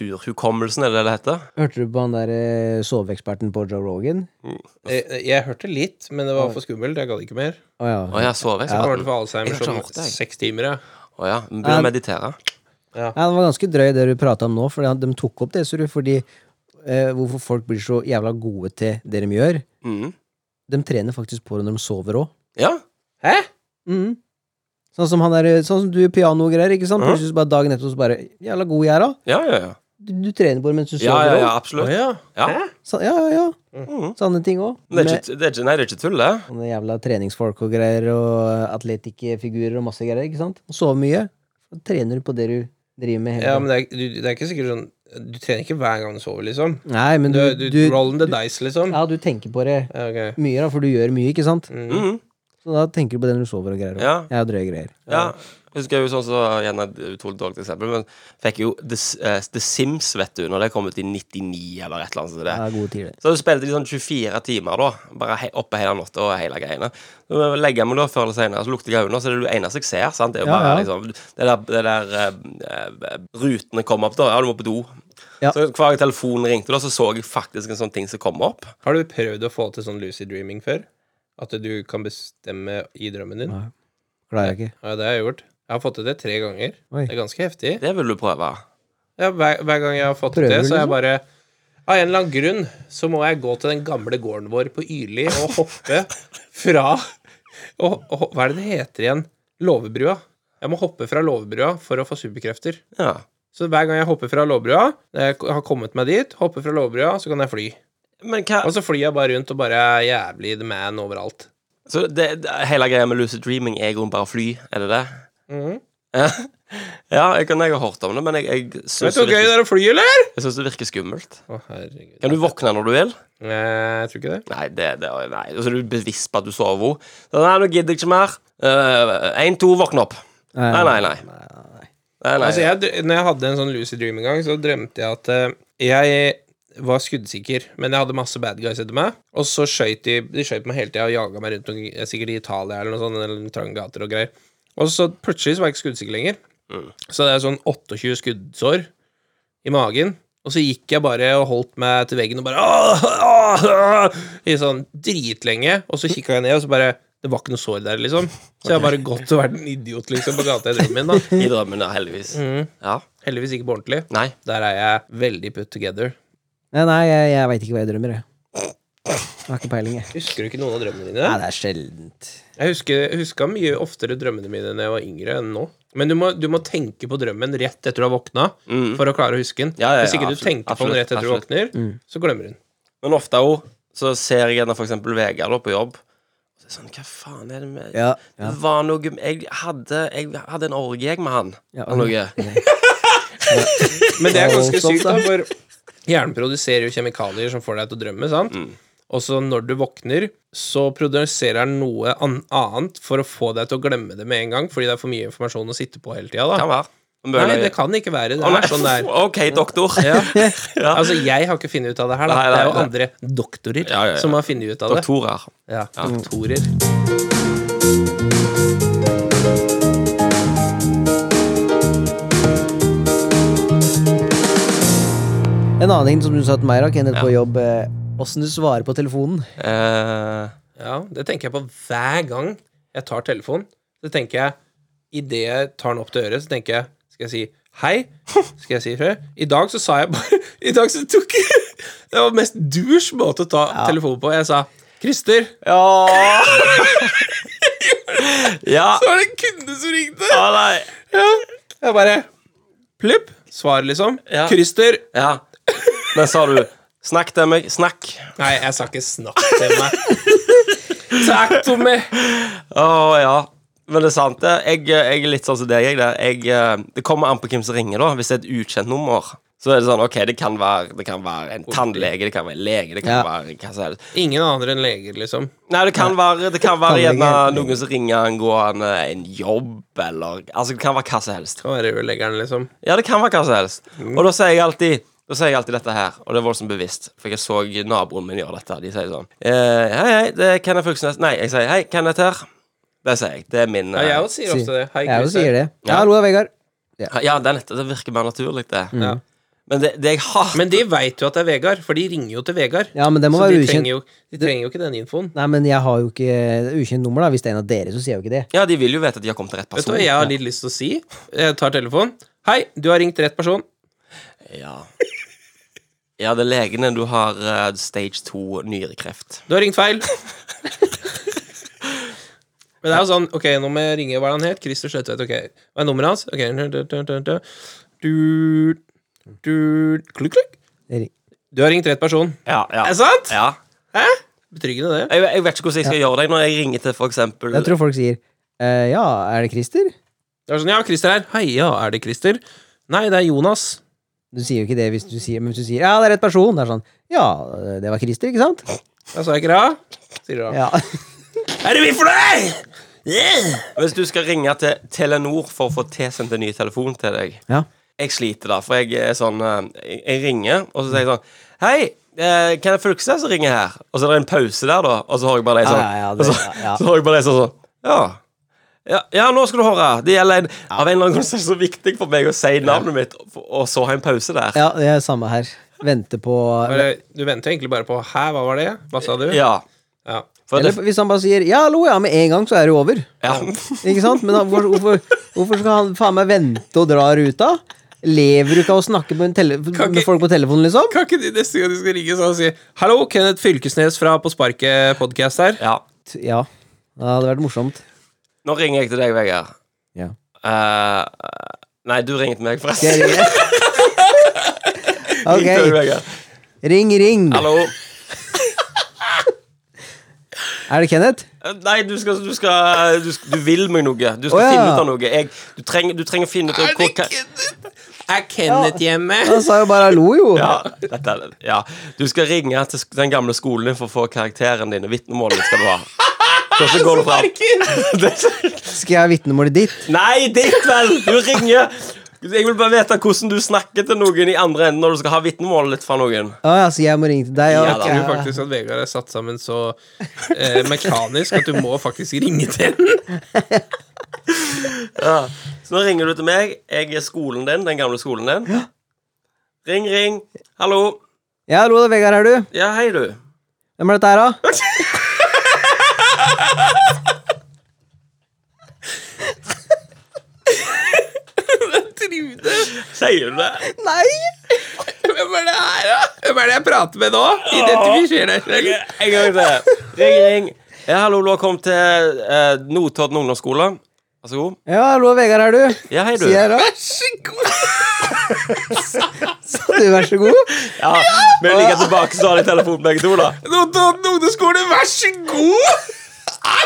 [SPEAKER 4] muskulaturhukommelsen, er det det det heter?
[SPEAKER 5] Hørte du på han der eh, soveeksperten på Joe Rogan?
[SPEAKER 3] Jeg, Eh, jeg hørte litt, men det var for skummelt. Jeg gadd ikke mer.
[SPEAKER 5] Å ja.
[SPEAKER 4] Å ja, sover jeg?
[SPEAKER 3] Jeg
[SPEAKER 4] så
[SPEAKER 3] var for Alzheimer
[SPEAKER 4] Jeg har ikke
[SPEAKER 3] som
[SPEAKER 4] hørt det, jeg.
[SPEAKER 3] seks timer, ja.
[SPEAKER 4] Å ja. Begynner å meditere.
[SPEAKER 5] Ja, det var ganske drøy det du prata om nå, for de tok opp det, ser du, fordi eh, hvorfor folk blir så jævla gode til det de gjør.
[SPEAKER 4] Mm.
[SPEAKER 5] De trener faktisk på det når de sover òg.
[SPEAKER 4] Ja.
[SPEAKER 3] Hæ?
[SPEAKER 5] Mm. Sånn som han der, sånn som du piano og greier, ikke sant?
[SPEAKER 4] Mhm.
[SPEAKER 5] Plutselig så bare dagen etter så bare Jævla god jeg er, da.
[SPEAKER 4] Ja, ja, ja.
[SPEAKER 5] Du, du trener på det mens
[SPEAKER 4] Ja,
[SPEAKER 5] du sover
[SPEAKER 4] ja,
[SPEAKER 5] òg.
[SPEAKER 4] ja,
[SPEAKER 3] Å
[SPEAKER 4] absolutt.
[SPEAKER 3] ja.
[SPEAKER 4] Ja.
[SPEAKER 5] Sa- ja, ja, ja.
[SPEAKER 4] Mhm.
[SPEAKER 5] Sanne ting òg.
[SPEAKER 4] Men Det er ikke, det er ikke, nei, det er ikke tull, det.
[SPEAKER 5] sånne jævla treningsfolk og greier, og atletikkfigurer og masse greier, ikke sant? Og sove mye. Så trener du på det du driver med hele
[SPEAKER 3] ja men
[SPEAKER 5] tiden.
[SPEAKER 3] det er, du, det er ikke sikkert sånn Du trener ikke hver gang du sover, liksom.
[SPEAKER 5] Nei, men
[SPEAKER 3] Du,
[SPEAKER 5] du,
[SPEAKER 3] du,
[SPEAKER 5] du
[SPEAKER 3] rolling the dice, liksom.
[SPEAKER 5] Ja, du tenker på det
[SPEAKER 3] Ja, ok.
[SPEAKER 5] mye, da, for du gjør mye, ikke sant?
[SPEAKER 3] Mm.
[SPEAKER 4] Mhm.
[SPEAKER 5] Så da tenker du på det når du sover og greier.
[SPEAKER 4] Ja.
[SPEAKER 5] Jeg har drøye greier.
[SPEAKER 4] Ja. Jeg husker jo sånn så, igjen et utrolig dårlig eksempel, men fikk jo The, S- eh, The Sims, vet du, når det kom ut i 99 eller et eller annet. sånt
[SPEAKER 5] Jeg
[SPEAKER 4] der.
[SPEAKER 5] har gode tider.
[SPEAKER 4] Så spilte de sånn 24 timer, da. Bare he oppe hele natta og hele greiene. Så legger jeg meg da før eller senere, så lukter jeg øynene, så er det det eneste jeg ser. sant? Det er jo
[SPEAKER 5] Ja,
[SPEAKER 4] bare
[SPEAKER 5] ja.
[SPEAKER 4] liksom Det der, det der eh, eh, Rutene kom opp, da. Ja, du må på do.
[SPEAKER 5] Ja.
[SPEAKER 4] Så hver gang telefonen ringte, da, så så jeg faktisk en sånn ting som kom opp.
[SPEAKER 3] Har du prøvd å få til sånn lucid dreaming før? At du kan bestemme i drømmen din?
[SPEAKER 5] Klarer jeg ikke.
[SPEAKER 3] Ja, det har jeg gjort. Jeg har fått til det tre ganger.
[SPEAKER 5] Oi.
[SPEAKER 3] Det er ganske heftig.
[SPEAKER 4] Det vil du prøve.
[SPEAKER 3] Ja, hver, hver gang jeg har fått til
[SPEAKER 5] Prøver
[SPEAKER 3] det,
[SPEAKER 5] du
[SPEAKER 3] så er jeg
[SPEAKER 5] liksom?
[SPEAKER 3] bare Av en eller annen grunn så må jeg gå til den gamle gården vår på Yrli og hoppe fra og, og, Hva er det det heter igjen? Låvebrua. Jeg må hoppe fra låvebrua for å få superkrefter.
[SPEAKER 4] Ja.
[SPEAKER 3] Så hver gang jeg hopper fra låvebrua, når jeg har kommet meg dit, hopper fra låvebrua, så kan jeg fly.
[SPEAKER 4] Men hva
[SPEAKER 3] Og så flyr jeg bare rundt og bare er jævlig the man overalt.
[SPEAKER 4] Så det, det, hele greia med lucid dreaming er i grunnen bare å fly, er det det?
[SPEAKER 3] Mhm.
[SPEAKER 4] ja, jeg kan jeg har hørt om det, men jeg, jeg
[SPEAKER 3] Vet
[SPEAKER 4] syns det,
[SPEAKER 3] du hvor gøy det
[SPEAKER 4] virker-
[SPEAKER 3] er å fly, eller?
[SPEAKER 4] jeg synes det virker skummelt.
[SPEAKER 3] Å, herregud.
[SPEAKER 4] Kan du våkne når du vil?
[SPEAKER 3] Eh, Jeg tror ikke det.
[SPEAKER 4] Nei, det, det nei. Og så er du bevisst på at du sover. Så nei, nå gidder jeg ikke mer. Én, to, våkne opp. Nei, nei, nei. nei, nei.
[SPEAKER 3] Altså, jeg, dr- når jeg hadde en sånn Lucy Dream en gang, så drømte jeg at eh, jeg var skuddsikker, men jeg hadde masse bad guys etter meg, og så skøyt de De skjøt meg hele tida og jaga meg rundt, omkring, eh, sikkert i Italia eller noe sånt, eller trange gater og greier. Og så plutselig så var jeg ikke skuddsikker lenger. Så det er sånn 28 skuddsår i magen. Og så gikk jeg bare og holdt meg til veggen og bare «Åh, åh, åh», I sånn dritlenge. Og så kikka jeg ned, og så bare Det var ikke noe sår der, liksom. Så jeg har bare gått og vært en idiot, liksom, på gata i drømmen min, da.
[SPEAKER 4] I drømmen, ja, heldigvis. Ja.
[SPEAKER 3] Heldigvis ikke på ordentlig.
[SPEAKER 4] Nei.
[SPEAKER 3] Der er jeg veldig put together.
[SPEAKER 5] Nei, nei, jeg, jeg veit ikke hva jeg drømmer, jeg. Jeg har ikke peiling, jeg.
[SPEAKER 3] Husker du ikke noen av drømmene
[SPEAKER 5] Nei,
[SPEAKER 3] dine?
[SPEAKER 5] det er sjeldent.
[SPEAKER 3] Jeg husker, jeg husker mye oftere drømmene mine da jeg var yngre enn nå. Men du må, du må tenke på drømmen rett etter du har våkna,
[SPEAKER 4] Mm.
[SPEAKER 3] for å klare å huske den.
[SPEAKER 4] Ja, ja, ja,
[SPEAKER 3] Hvis ikke du
[SPEAKER 4] absolutt,
[SPEAKER 3] tenker på den rett etter du
[SPEAKER 4] absolutt,
[SPEAKER 3] våkner,
[SPEAKER 5] Mm.
[SPEAKER 3] så glemmer du den.
[SPEAKER 4] Men ofte òg så ser jeg gjerne for eksempel Vegard da, på jobb. Så er jeg sånn, hva faen er det med
[SPEAKER 5] Ja,
[SPEAKER 4] Det
[SPEAKER 5] ja.
[SPEAKER 4] var noe Jeg hadde, jeg hadde en orgie jeg, med han.
[SPEAKER 5] Ja,
[SPEAKER 4] Eller noe.
[SPEAKER 3] Men det er
[SPEAKER 5] Ja,
[SPEAKER 3] ganske
[SPEAKER 5] sånn,
[SPEAKER 3] sykt, da, for hjernen produserer jo kjemikalier som får deg til å drømme, sant? Og så når du våkner, så produserer den noe an annet for å få deg til å glemme det med en gang, fordi det er for mye informasjon å sitte på hele tida, da.
[SPEAKER 4] Kan være.
[SPEAKER 3] Nei, det kan ikke være. Det er sånn det er.
[SPEAKER 4] OK, doktor.
[SPEAKER 3] Ja.
[SPEAKER 4] Ja.
[SPEAKER 3] Altså, jeg har ikke funnet ut av det her, da.
[SPEAKER 4] Nei, nei,
[SPEAKER 3] det er jo
[SPEAKER 4] nei.
[SPEAKER 3] andre doktorer
[SPEAKER 4] Ja, ja, ja.
[SPEAKER 3] som har funnet ut av det.
[SPEAKER 4] Doktorer.
[SPEAKER 3] Ja, doktorer.
[SPEAKER 5] En annen ting som du sa til meg, da, Kenneth, på jobb eh, Åssen du svarer på telefonen.
[SPEAKER 4] Eh,
[SPEAKER 3] Ja, det tenker jeg på hver gang jeg tar telefonen. Så tenker jeg, idet jeg tar den opp til øret, så tenker jeg Skal jeg si hei? Skal jeg si hei? I dag så sa jeg bare I dag så tok jeg Det var mest dusj måte å ta telefonen på. Jeg sa Christer.
[SPEAKER 4] ja Ja.
[SPEAKER 3] Så var det en kunde som ringte.
[SPEAKER 4] Å, nei.
[SPEAKER 3] Ja. Jeg bare Plupp. Svar, liksom.
[SPEAKER 4] Ja.
[SPEAKER 3] Christer.
[SPEAKER 4] Ja. Men sa du 'snakk til meg', snakk.
[SPEAKER 3] Nei, jeg sa ikke snakk til meg. Takk, Tommy.
[SPEAKER 4] Å ja. Men det er sant, det. Jeg, jeg er litt sånn som deg. Jeg, der. jeg, eh, det kommer an på hvem som ringer, da. Hvis det er et ukjent nummer, så er det sånn OK, det kan være, det kan være en tannlege, det kan være en lege, det kan
[SPEAKER 5] Ja.
[SPEAKER 4] være hva som helst.
[SPEAKER 3] Ingen andre enn leger, liksom.
[SPEAKER 4] Nei, det kan være, det kan være
[SPEAKER 5] Tannlege.
[SPEAKER 4] gjerne noen som ringer angående en jobb, eller Altså, det kan være hva som helst.
[SPEAKER 3] Kan være rørleggeren, liksom.
[SPEAKER 4] Ja, det kan være hva som helst.
[SPEAKER 3] Mm.
[SPEAKER 4] Og da sier jeg alltid da sier jeg alltid dette her, og det er voldsomt bevisst, for jeg så naboen min gjøre dette. De sier sånn eh, Hei, hei, det er Kenneth Fylkesnes. Nei, jeg sier hei, Kenneth her. Det sier jeg. Det er min
[SPEAKER 3] Ja,
[SPEAKER 4] eh,
[SPEAKER 3] jeg også sier ofte det. Hei,
[SPEAKER 5] Jeg jo
[SPEAKER 3] Chris.
[SPEAKER 5] sier det.
[SPEAKER 4] Ja.
[SPEAKER 5] Ja, hallo, det er Vegard. Mm.
[SPEAKER 4] Ja, det, er nett, det virker mer naturlig, det.
[SPEAKER 3] Ja.
[SPEAKER 4] Men det, det jeg hater
[SPEAKER 3] Mm. Men de veit jo at det er Vegard, for de ringer jo til Vegard.
[SPEAKER 5] Ja, men det må
[SPEAKER 3] så
[SPEAKER 5] være
[SPEAKER 3] de
[SPEAKER 5] ukjent.
[SPEAKER 3] trenger, jo, de trenger jo ikke den infoen.
[SPEAKER 5] Nei, men jeg har jo ikke det er ukjent nummer, da. Hvis det er en av dere, så sier jeg jo ikke det.
[SPEAKER 4] Ja, de vil jo vite at de har kommet til rett
[SPEAKER 3] Vet du
[SPEAKER 4] person.
[SPEAKER 3] hva jeg har litt lyst til å si? Jeg tar telefonen. Hei, du har ringt rett person.
[SPEAKER 4] Ja. ja, det er legene. Du har eh, stage 2 nyrekreft.
[SPEAKER 3] Du har ringt feil. Men det er jo sånn Ok, nå må jeg ringe hva er det han het. Christer Sløtvedt. Ok, hva er nummeret hans? Ok Du, du, klikk, klikk.
[SPEAKER 5] Det er-
[SPEAKER 3] Du har ringt rett person.
[SPEAKER 4] Ja, ja.
[SPEAKER 3] Er det sant?
[SPEAKER 4] Ja.
[SPEAKER 3] Hæ? Betryggende, det.
[SPEAKER 4] Altså- Jeg, jeg vet ikke hvordan jeg skal gjøre det når jeg ringer til for eksempel
[SPEAKER 5] Jeg tror folk sier eh, Ja, er det Christer?
[SPEAKER 3] Det er sånn, ja, Christer her. Hei, ja, er det Christer? Nei, det er Jonas.
[SPEAKER 5] Du sier jo ikke det hvis du sier Men hvis du sier ja, det er rett person, det er sånn Ja, det var Christer, ikke sant?
[SPEAKER 3] Da sa jeg ikke det, sier du da.
[SPEAKER 5] Ja.
[SPEAKER 3] Er det vi for deg? Yeah!
[SPEAKER 4] Hvis du skal ringe til Telenor for å få tilsendt en ny telefon til deg
[SPEAKER 5] ja.
[SPEAKER 4] Jeg sliter da, for jeg er sånn eh, Jeg, jeg ringer, og så sier jeg sånn Hei, eh, Kenneth Fylkesnes som ringer her. Og så er det en pause der, da, og så har jeg bare deg sånn.
[SPEAKER 5] Ja, ja, ja, det-
[SPEAKER 4] og så,
[SPEAKER 5] ja, ja.
[SPEAKER 4] så har jeg bare deg sånn sånn Ja. Ja, ja, nå skal du høre. Det gjelder en Av en eller annen grunn så er det så viktig for meg å si navnet mitt, og, og så ha en pause der.
[SPEAKER 5] ja, det er samme her. Vente på
[SPEAKER 3] Bare, du venter egentlig bare på Hæ, hva var det? Hva sa du?
[SPEAKER 4] Ja.
[SPEAKER 3] Ja.
[SPEAKER 4] For det,
[SPEAKER 5] Eller hvis han bare sier 'ja, hallo', ja, med en gang, så er det over.
[SPEAKER 4] ja.
[SPEAKER 5] Ikke sant? Men han, hvorfor, hvorfor, hvorfor skal han faen meg vente og dra ruta? Lever du ikke av å snakke med, en tele
[SPEAKER 3] Kan
[SPEAKER 5] med
[SPEAKER 3] ikke-
[SPEAKER 5] folk på telefonen, liksom?
[SPEAKER 3] Kan ikke de neste gang de skal ringe sånn og si 'Hallo, Kenneth Fylkesnes fra På sparket podcast her'?
[SPEAKER 4] ja.
[SPEAKER 5] Ja. Det hadde vært morsomt.
[SPEAKER 4] Nå ringer jeg til deg, Vegard.
[SPEAKER 5] Ja.
[SPEAKER 4] Eh, nei, du ringer til meg,
[SPEAKER 5] Skal
[SPEAKER 4] forresten.
[SPEAKER 5] jeg ringe?
[SPEAKER 4] Ring til meg,
[SPEAKER 5] Ok.
[SPEAKER 4] eh, Vegard.
[SPEAKER 5] Ring, ring.
[SPEAKER 4] Hallo. Eh,
[SPEAKER 5] Er det Kenneth?
[SPEAKER 4] Eh, Nei, du skal, du skal du, sk- du vil meg noe. Du skal
[SPEAKER 5] Å, ja.
[SPEAKER 4] finne ut av noe. Jeg, du, trenger, du trenger å finne ut av hvor hva-
[SPEAKER 3] Er Kenneth hjemme?
[SPEAKER 5] Han
[SPEAKER 4] altså-
[SPEAKER 5] sa jo bare hallo, jo.
[SPEAKER 4] ja, dette, er det. ja. Du skal ringe til sk- den gamle skolen din for å få karakteren din. og Vitnemålet ditt skal du ha. Hvordan går det fram?
[SPEAKER 5] Skal jeg ha vitnemålet ditt?
[SPEAKER 4] Nei, ditt vel! Du ringer. Jeg vil bare vite hvordan du snakker til noen i andre enden når du skal ha vitnemålet ditt fra noen.
[SPEAKER 5] Å ja, så jeg må ringe til deg?
[SPEAKER 4] Ja, da.
[SPEAKER 5] ok.
[SPEAKER 3] Jeg tror faktisk at Vegard er satt sammen så eh, mekanisk at du må faktisk ringe til den.
[SPEAKER 4] Så nå ringer du til meg. Jeg er skolen din, den gamle skolen din. Ring, ring. Hallo.
[SPEAKER 5] ja, hallo, det er Vegard her, du.
[SPEAKER 4] Ja, hei, du.
[SPEAKER 5] Hvem er dette her, da?
[SPEAKER 4] Sier du det?
[SPEAKER 5] Nei!
[SPEAKER 3] Hvem er det her, da? Hvem er det jeg prater med nå? Identifiser deg selv.
[SPEAKER 4] En gang til. Ring, ring. Ja, hallo, du har kommet til eh, Notodden ungdomsskole. Vær så god.
[SPEAKER 5] Ja, hallo, Vegard her, du.
[SPEAKER 4] Ja, hei, du.
[SPEAKER 5] Sier jeg da. Sa du vær så god?
[SPEAKER 4] Ja, Vi ligger tilbake, så har de telefon begge to, da.
[SPEAKER 3] Notodden ungdomsskole, vær så god!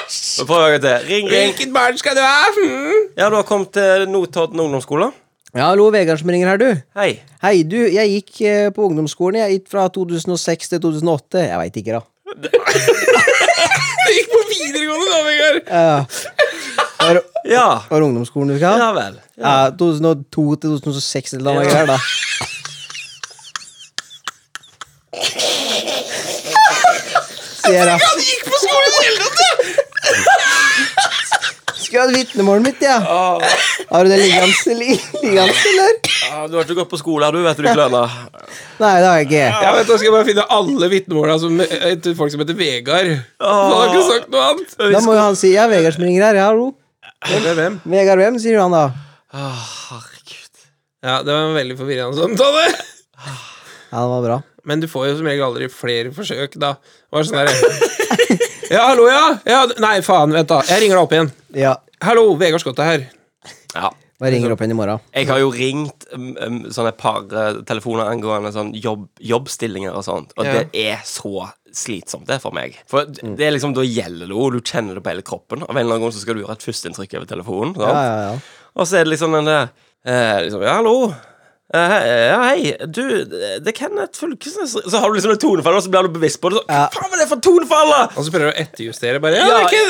[SPEAKER 4] Så prøver jeg en gang til. Ring, ring.
[SPEAKER 3] Hvilket barn skal du ha? Hmm?
[SPEAKER 4] Ja, du har kommet til Notodden ungdomsskole.
[SPEAKER 5] Ja, hallo, Vegard som ringer her, du.
[SPEAKER 4] Hei.
[SPEAKER 5] Hei, du, jeg gikk eh, på ungdomsskolen jeg, gikk fra 2006 til 2008. Jeg veit ikke, da.
[SPEAKER 3] Du gikk på videregående da, Vegard.
[SPEAKER 5] Ja. Var,
[SPEAKER 4] Ja.
[SPEAKER 5] var det ungdomsskolen du skal
[SPEAKER 4] Ja
[SPEAKER 5] ha?
[SPEAKER 4] vel.
[SPEAKER 5] Ja, 2002 til 2006 eller noe greier, da. Sier jeg, da.
[SPEAKER 3] Du gikk på skolen i det hele tatt!
[SPEAKER 5] Skulle hatt vitnemålet mitt, ja.
[SPEAKER 4] Åh.
[SPEAKER 5] Har du det liggende, li- liggende, eller?
[SPEAKER 4] Ja, du har ikke gått på skole, har du, vet du, du kløna.
[SPEAKER 5] Nei, det har jeg ikke.
[SPEAKER 3] Ja, vent, da skal jeg bare finne alle vitnemåla som etter folk som heter Vegard. Han har ikke sagt noe annet.
[SPEAKER 5] Da må jo han si ja, Vegard som ringer her. Ja, hallo.
[SPEAKER 3] Hvem er hvem?
[SPEAKER 5] Vegard hvem, sier han da.
[SPEAKER 4] herregud.
[SPEAKER 3] Ja, det var en veldig forvirrende samtale.
[SPEAKER 5] Ja, det var bra.
[SPEAKER 3] Men du får jo som regel aldri flere forsøk, da. Det Var sånn der, ja, hallo, ja. ja. Nei, faen, vent, da. Jeg ringer deg opp igjen.
[SPEAKER 5] Ja.
[SPEAKER 3] Hallo, Vegard Skott er her.
[SPEAKER 4] Ja.
[SPEAKER 5] Bare ringer opp igjen i morgen.
[SPEAKER 4] Jeg har jo ringt um, um, sånne par eh, telefoner angående sånn jobb, jobbstillinger og sånt, og
[SPEAKER 3] Ja.
[SPEAKER 4] det er så slitsomt, det, for meg. For d- det er liksom, da gjelder det jo, du kjenner det på hele kroppen. Av en eller annen grunn så skal du gjøre et førsteinntrykk over telefonen. sant?
[SPEAKER 5] Ja, ja, ja.
[SPEAKER 4] Og så er det liksom den der eh, liksom, Ja, hallo. Eh, hei, ja, hei, du, det er Kenneth Fylkesnes Så har du liksom det tonefallet, og så blir du bevisst på det. Så, Hva
[SPEAKER 5] Ja.
[SPEAKER 4] faen var det for tonefallet?
[SPEAKER 3] Og så prøver du å etterjustere. bare,
[SPEAKER 4] Ja.
[SPEAKER 3] ja, det er ikke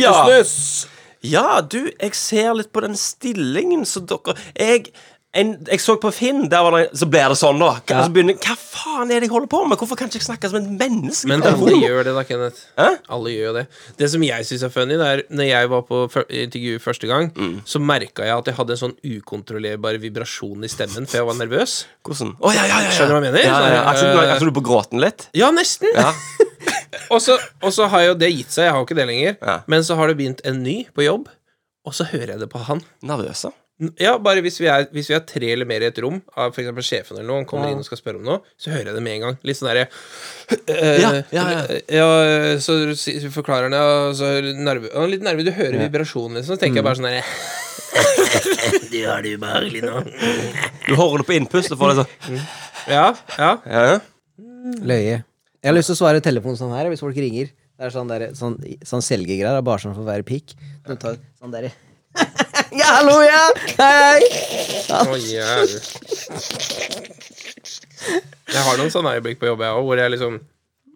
[SPEAKER 4] Ja.
[SPEAKER 3] Fylkesnes.
[SPEAKER 4] Ja, du, jeg ser litt på den stillingen som dere Jeg, en, jeg så på Finn, der var det, så blir det sånn, da. Hva,
[SPEAKER 5] Ja.
[SPEAKER 4] så begynner, hva faen er det jeg holder på med? Hvorfor kan ikke jeg snakke som et menneske?
[SPEAKER 3] Men
[SPEAKER 4] på
[SPEAKER 3] alle
[SPEAKER 4] telefonen?
[SPEAKER 3] gjør det, da, Kenneth.
[SPEAKER 4] Hæ?
[SPEAKER 3] Alle gjør jo det. Det som jeg syns er funny, det er når jeg var på fyr- intervju første gang, så merka jeg at jeg hadde en sånn ukontrollerbar vibrasjon i stemmen, for jeg var nervøs.
[SPEAKER 4] Hvordan? Å, ja, ja, ja, ja.
[SPEAKER 3] Skjønner du hva jeg mener?
[SPEAKER 4] Ja, ja, ja.
[SPEAKER 3] Sånn,
[SPEAKER 4] Aksel, du,
[SPEAKER 3] eh,
[SPEAKER 4] Aksel, du er på gråten litt?
[SPEAKER 3] Ja, nesten.
[SPEAKER 4] Ja.
[SPEAKER 3] og, så, og så har jo det gitt seg. Jeg har jo ikke det lenger.
[SPEAKER 4] Ja.
[SPEAKER 3] Men så har det begynt en ny på jobb, og så hører jeg det på han.
[SPEAKER 4] Nervøse?
[SPEAKER 3] N- Ja, bare hvis vi er, hvis vi er tre eller mer i et rom, av for eksempel sjefen eller noe, han kommer inn og skal spørre om noe, så hører jeg det med en gang. Litt sånn derre eh,
[SPEAKER 4] Ja, ja, ja.
[SPEAKER 3] eh, ja, Så si- forklarer han det, og så er du nervø- han er litt nervøs. Du hører vibrasjonen, liksom. Så tenker
[SPEAKER 4] Mm.
[SPEAKER 3] jeg bare sånn derre Du har det ubehagelig nå.
[SPEAKER 4] Du holder det på innpust og får det sånn
[SPEAKER 3] Ja, ja.
[SPEAKER 4] ja, ja.
[SPEAKER 5] Løye. Jeg har lyst til å svare telefonen sånn her, hvis folk ringer. Det er sånn, der, sånn, sånn selgegreier, det er bare sånn for å være pikk. Du tar sånn derre Ja, hallo, ja! Hei, hei!
[SPEAKER 3] Å, jævlig. Jeg har noen sånne øyeblikk på jobb, jeg òg, hvor jeg liksom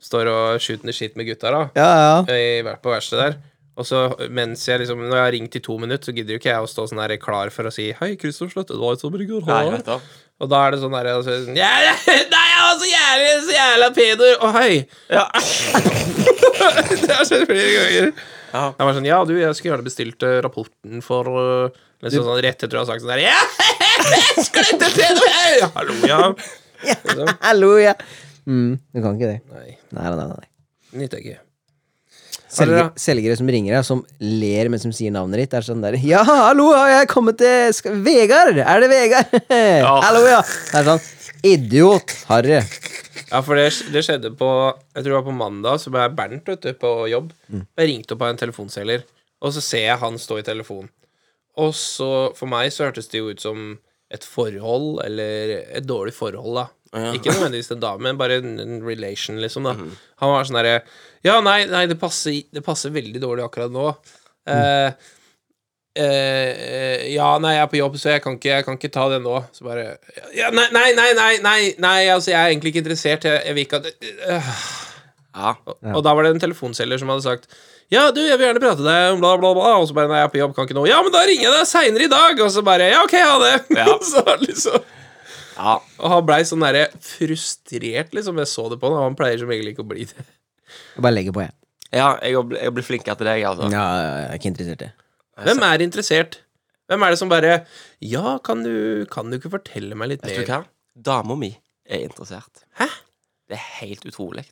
[SPEAKER 3] står og shooter the shit med gutta, da.
[SPEAKER 5] Ja, ja.
[SPEAKER 3] eh, I, hver- på verkstedet der. Og så mens jeg liksom Når jeg har ringt i to minutter, så gidder jo ikke jeg å stå sånn her klar for å si 'Hei, Kristoff Sløtt, det var sånn et sånt brygger,
[SPEAKER 4] Nei,
[SPEAKER 3] hallo».
[SPEAKER 4] vet du.
[SPEAKER 3] Og da er det sånn derre altså, sånn, «Ja, ja, Nei, jeg var så jævlig så jævla pedo! Å, hei!
[SPEAKER 4] Ja.
[SPEAKER 3] det har skjedd flere ganger.
[SPEAKER 4] Ja.
[SPEAKER 3] Jeg var sånn Ja, du, jeg skulle gjerne bestilt eh, rapporten for eh, liksom sånn rett etter å ha sagt sånn der Ja! Sklette pedo! hei!» Hallo, ja.
[SPEAKER 5] Hallo, ja. Mm, du kan ikke det.
[SPEAKER 3] Nei,
[SPEAKER 5] Nei, nei, nei. nei.
[SPEAKER 3] nytter jeg ikke.
[SPEAKER 5] Selger, selgere som ringer deg, som ler mens de sier navnet ditt. Det er sånn der Ja, hallo, har jeg kommet til Sk Vegard? Er det Vegard? Hallo, ja. Det er sånn Idiot. Harry.
[SPEAKER 3] Ja, for det, det skjedde på Jeg tror det var på mandag, så ble Bernt vet du, på jobb. Jeg ringte opp av en telefonselger, og så ser jeg han stå i telefonen. Og så, for meg, så hørtes det jo ut som et forhold, eller et dårlig forhold, da. Ikke nødvendigvis en dame, men bare en, en relation, liksom, da. Han var sånn derre Ja, nei, nei det, passer, det passer veldig dårlig akkurat nå. Eh, eh, ja, nei, jeg er på jobb, så jeg kan ikke, jeg kan ikke ta det nå. Så bare ja, Nei, nei, nei, nei, nei, nei altså, jeg er egentlig ikke interessert. Jeg, jeg vil ikke at øh.
[SPEAKER 4] Ja.
[SPEAKER 3] Og da var det en telefonselger som hadde sagt Ja, du, jeg vil gjerne prate med deg om bla, bla, bla. Og så bare Nei, jeg er på jobb, kan ikke nå. Ja, men da ringer jeg deg seinere i dag. Og så bare Ja, ok, ha det.
[SPEAKER 4] Ja.
[SPEAKER 3] så liksom
[SPEAKER 4] ja.
[SPEAKER 3] Og han blei sånn derre frustrert, liksom. Jeg så det på han, og han pleier som regel ikke å bli det.
[SPEAKER 5] Jeg bare legger på, jeg.
[SPEAKER 4] Ja, jeg blir- jeg blir flinkere til deg, altså.
[SPEAKER 5] Ja, jeg er ikke interessert, jeg.
[SPEAKER 3] Hvem er interessert? Hvem er det som bare Ja, kan du, kan du ikke fortelle meg litt
[SPEAKER 4] Vet du
[SPEAKER 3] mer?
[SPEAKER 4] hva? Dama mi er interessert.
[SPEAKER 3] Hæ?
[SPEAKER 4] Det er helt utrolig.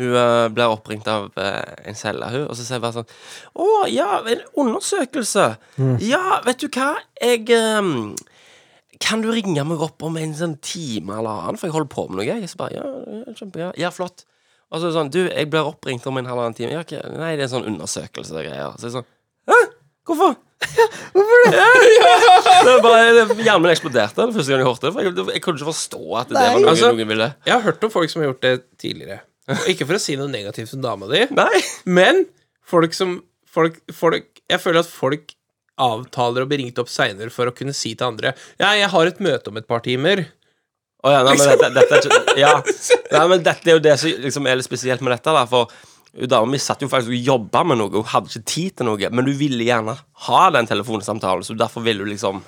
[SPEAKER 4] Hun eh, blir oppringt av eh, en selger, hun, og så sier hun bare sånn Å, ja, en undersøkelse. Ja, vet du hva, jeg eh, Kan du ringe meg opp om en sånn time eller annen, for jeg holder på med noe? Jeg så bare, ja, ja, kjempe, ja, ja, flott. Og så er det sånn Du, jeg blir oppringt om en halvannen time. Ja, ok, nei, det er en sånn undersøkelse og greier. Så er det sånn Hæ? Hvorfor? Det er bare, det- Hjernen min eksploderte den første gang jeg hørte det. For jeg, jeg kunne ikke forstå at det var noe
[SPEAKER 3] Altså-
[SPEAKER 4] noen ville.
[SPEAKER 3] Jeg har hørt om folk som har gjort det tidligere. Og Ikke for å si noe negativt om dama di,
[SPEAKER 4] Nei.
[SPEAKER 3] men folk som folk, folk, Jeg føler at folk avtaler å bli ringt opp seinere for å kunne si til andre Ja, jeg har et møte om et par timer.
[SPEAKER 4] Å ja, nei,
[SPEAKER 5] Liksom.
[SPEAKER 4] men dette, dette er ikke Ja. Nei, men dette er jo det som liksom, er litt spesielt med dette, da. For hun dama mi satt jo faktisk og jobba med noe, hun hadde ikke tid til noe. Men hun ville gjerne ha den telefonsamtalen, så derfor ville hun liksom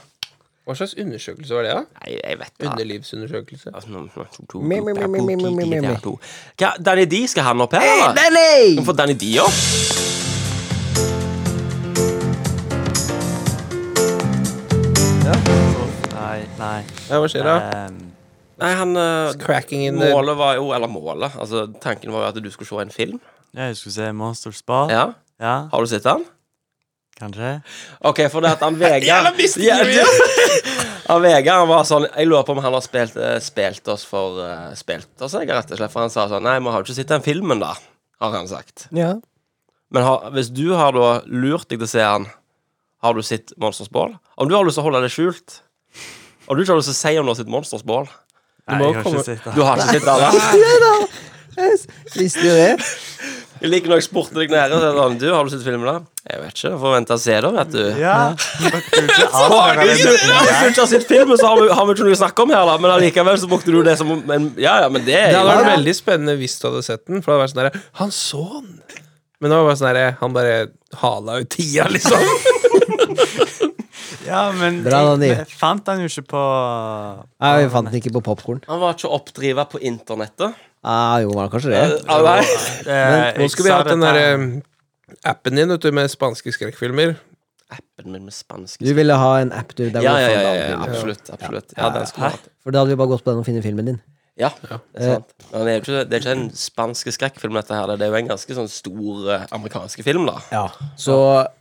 [SPEAKER 3] Hva slags undersøkelse var det, da?
[SPEAKER 4] Nei, jeg vet da.
[SPEAKER 3] Underlivsundersøkelse?
[SPEAKER 4] Altså, nå- nå- to- to- to-
[SPEAKER 5] Me, me, me, me, me, me, me, me, me.
[SPEAKER 4] Hva, Danny D, skal han opp her,
[SPEAKER 5] Hey,
[SPEAKER 4] eller? Kan vi
[SPEAKER 5] Danny!
[SPEAKER 4] få Danny D opp?
[SPEAKER 6] Nei, nei.
[SPEAKER 3] Ja, hva skjer da?
[SPEAKER 6] Ehm,
[SPEAKER 4] Nei, han eh,
[SPEAKER 3] Cracking in the
[SPEAKER 4] Målet var jo Eller målet. Altså, tanken var jo at du skulle se en film.
[SPEAKER 6] ja, jeg skulle se Monster Spa.
[SPEAKER 4] Ja.
[SPEAKER 6] Ja,
[SPEAKER 4] Har du sett den?
[SPEAKER 6] kanskje.
[SPEAKER 4] OK, for det at han Vegard Ja,
[SPEAKER 3] jo
[SPEAKER 4] Han Vegard han var sånn Jeg lurer på om han har spilt, eh, spilt oss for eh, Spilt oss, jeg, rett og slett. For han sa sånn Nei, vi har jo ikke sett den filmen, da. Har han sagt.
[SPEAKER 5] Ja.
[SPEAKER 4] Men har, hvis du har da lurt deg til å se han, har du sett Monsters Ball? Om du har lyst til å holde det skjult Om du ikke har lyst til å si om du har sett Monsters Ball
[SPEAKER 6] Nei,
[SPEAKER 3] må
[SPEAKER 6] jeg har
[SPEAKER 3] komme-
[SPEAKER 6] ikke sett
[SPEAKER 4] Du
[SPEAKER 6] det.
[SPEAKER 4] har ikke sett det? da?
[SPEAKER 5] Visste du det?
[SPEAKER 4] Jeg liker når jeg spurte deg nede og sa sånn Du, har du sett filmen, da? Jeg vet ikke. Får vente og se, da, vet du.
[SPEAKER 6] Ja. Dere kunne ikke
[SPEAKER 4] Har
[SPEAKER 6] avsløre
[SPEAKER 4] du
[SPEAKER 6] det.
[SPEAKER 4] ikke- Hvis du ikke har sett filmen, så har vi, har vi ikke noe å snakke om her, da. Men allikevel så brukte du det som om- men, Ja, ja, men det er
[SPEAKER 3] Det hadde
[SPEAKER 4] jo
[SPEAKER 3] vært veldig spennende hvis du hadde sett den. For det hadde vært sånn der, Han så den! Men det var bare sånn der, han bare hala ut tida, liksom.
[SPEAKER 6] Ja, men
[SPEAKER 5] Bra, Danny.
[SPEAKER 6] jeg fant han jo ikke på
[SPEAKER 5] Nei, vi fant den ikke på popkorn.
[SPEAKER 4] Han var ikke oppdriva på internettet.
[SPEAKER 5] Ah, jo, var det kanskje det.
[SPEAKER 4] Ah, nei.
[SPEAKER 6] Eh,
[SPEAKER 3] Nå
[SPEAKER 6] jeg
[SPEAKER 3] skulle vi
[SPEAKER 6] sa
[SPEAKER 3] hatt den
[SPEAKER 6] dette-
[SPEAKER 3] derre appen din vet du, med spanske skrekkfilmer.
[SPEAKER 4] Appen min med spansk
[SPEAKER 5] Du ville ha en app, du. der hvor
[SPEAKER 4] Ja,
[SPEAKER 5] du
[SPEAKER 4] ja,
[SPEAKER 5] fant
[SPEAKER 4] ja,
[SPEAKER 5] alle
[SPEAKER 4] ja,
[SPEAKER 5] filmer.
[SPEAKER 4] absolutt. absolutt Ja, den skulle vi hatt.
[SPEAKER 5] For da hadde vi bare gått på den og funnet filmen din.
[SPEAKER 4] Ja, det er sant. Men det er jo ikke, det er ikke en spansk skrekkfilm, dette her. Det er jo en ganske sånn stor eh, amerikansk film, da.
[SPEAKER 5] Ja, Så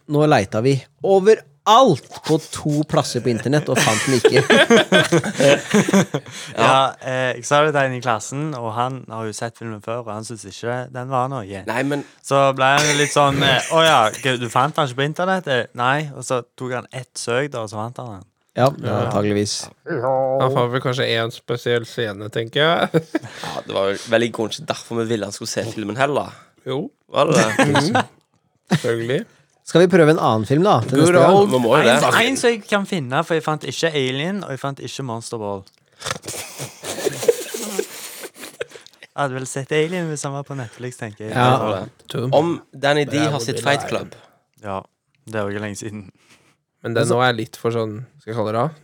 [SPEAKER 5] nå leita vi overalt på to plasser på internett og fant den ikke.
[SPEAKER 6] Ja, eh, jeg sa det til en i klassen, og han har jo sett filmen før, og han syntes ikke den var noe.
[SPEAKER 4] Nei, men
[SPEAKER 6] Så ble han litt sånn eh, Å ja, g- du fant han ikke på internett? Eh, Nei. Og så tok han ett søk, da, og så fant han den.
[SPEAKER 5] Ja, antageligvis.
[SPEAKER 3] Han fant vel kanskje én spesiell scene, tenker jeg.
[SPEAKER 4] ja, det var jo vel i grunnen ikke derfor vi ville han skulle se filmen heller.
[SPEAKER 3] Jo,
[SPEAKER 4] Var det det?
[SPEAKER 3] selvfølgelig.
[SPEAKER 5] Skal vi prøve en annen film, da? Til neste gang?
[SPEAKER 4] Vi må jo det.
[SPEAKER 6] En, en som jeg kan finne, for jeg fant ikke Alien, og jeg fant ikke Monster Ball. Jeg hadde vel sett Alien hvis han var på Netflix, tenker jeg.
[SPEAKER 5] Ja.
[SPEAKER 4] Det var det. Om Danny D har sett Fight Club
[SPEAKER 6] Ja, Det er jo ikke lenge siden.
[SPEAKER 3] Men den nå er litt for sånn, skal jeg kalle det da,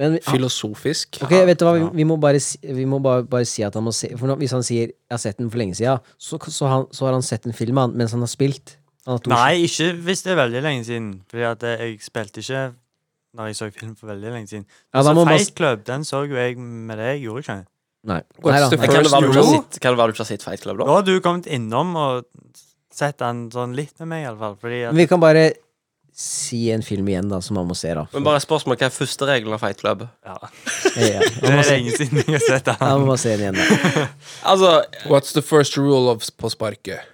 [SPEAKER 5] Men vi,
[SPEAKER 3] filosofisk.
[SPEAKER 5] ok, vet du hva, vi, vi må, bare, si- vi må bare, bare si at han må se For nå, hvis han sier 'jeg har sett den for lenge siden', så, så, han, så har han sett en film han, mens han har spilt. Han har to
[SPEAKER 6] Nei, ikke hvis det er veldig lenge siden. Fordi at eh, jeg spilte ikke når jeg så film for veldig lenge siden.
[SPEAKER 5] Ja, da
[SPEAKER 6] så
[SPEAKER 5] må man
[SPEAKER 6] Fight Club, den så jo jeg med deg, gjorde jeg ikke?
[SPEAKER 5] Nei.
[SPEAKER 3] What's
[SPEAKER 5] Nei, da,
[SPEAKER 3] the
[SPEAKER 4] Kan
[SPEAKER 5] nei.
[SPEAKER 4] det være du ikke har
[SPEAKER 3] Jo.
[SPEAKER 4] sett- kan det være du ikke har sett Fight Club,
[SPEAKER 6] Da
[SPEAKER 4] da?
[SPEAKER 6] har du kommet innom og Sett den sånn litt med meg, iallfall. Fordi at
[SPEAKER 5] Vi kan bare si en film igjen, da, som man må se, da.
[SPEAKER 4] Men bare et spørsmål, hva er første regelen av Fight Club?
[SPEAKER 6] ja.
[SPEAKER 5] Ja,
[SPEAKER 6] Det
[SPEAKER 5] man må
[SPEAKER 6] er
[SPEAKER 5] se,
[SPEAKER 6] lenge siden jeg har sett den.
[SPEAKER 5] ja, man må se den igjen, da.
[SPEAKER 4] Altså,
[SPEAKER 3] What's the first rule of på sparket?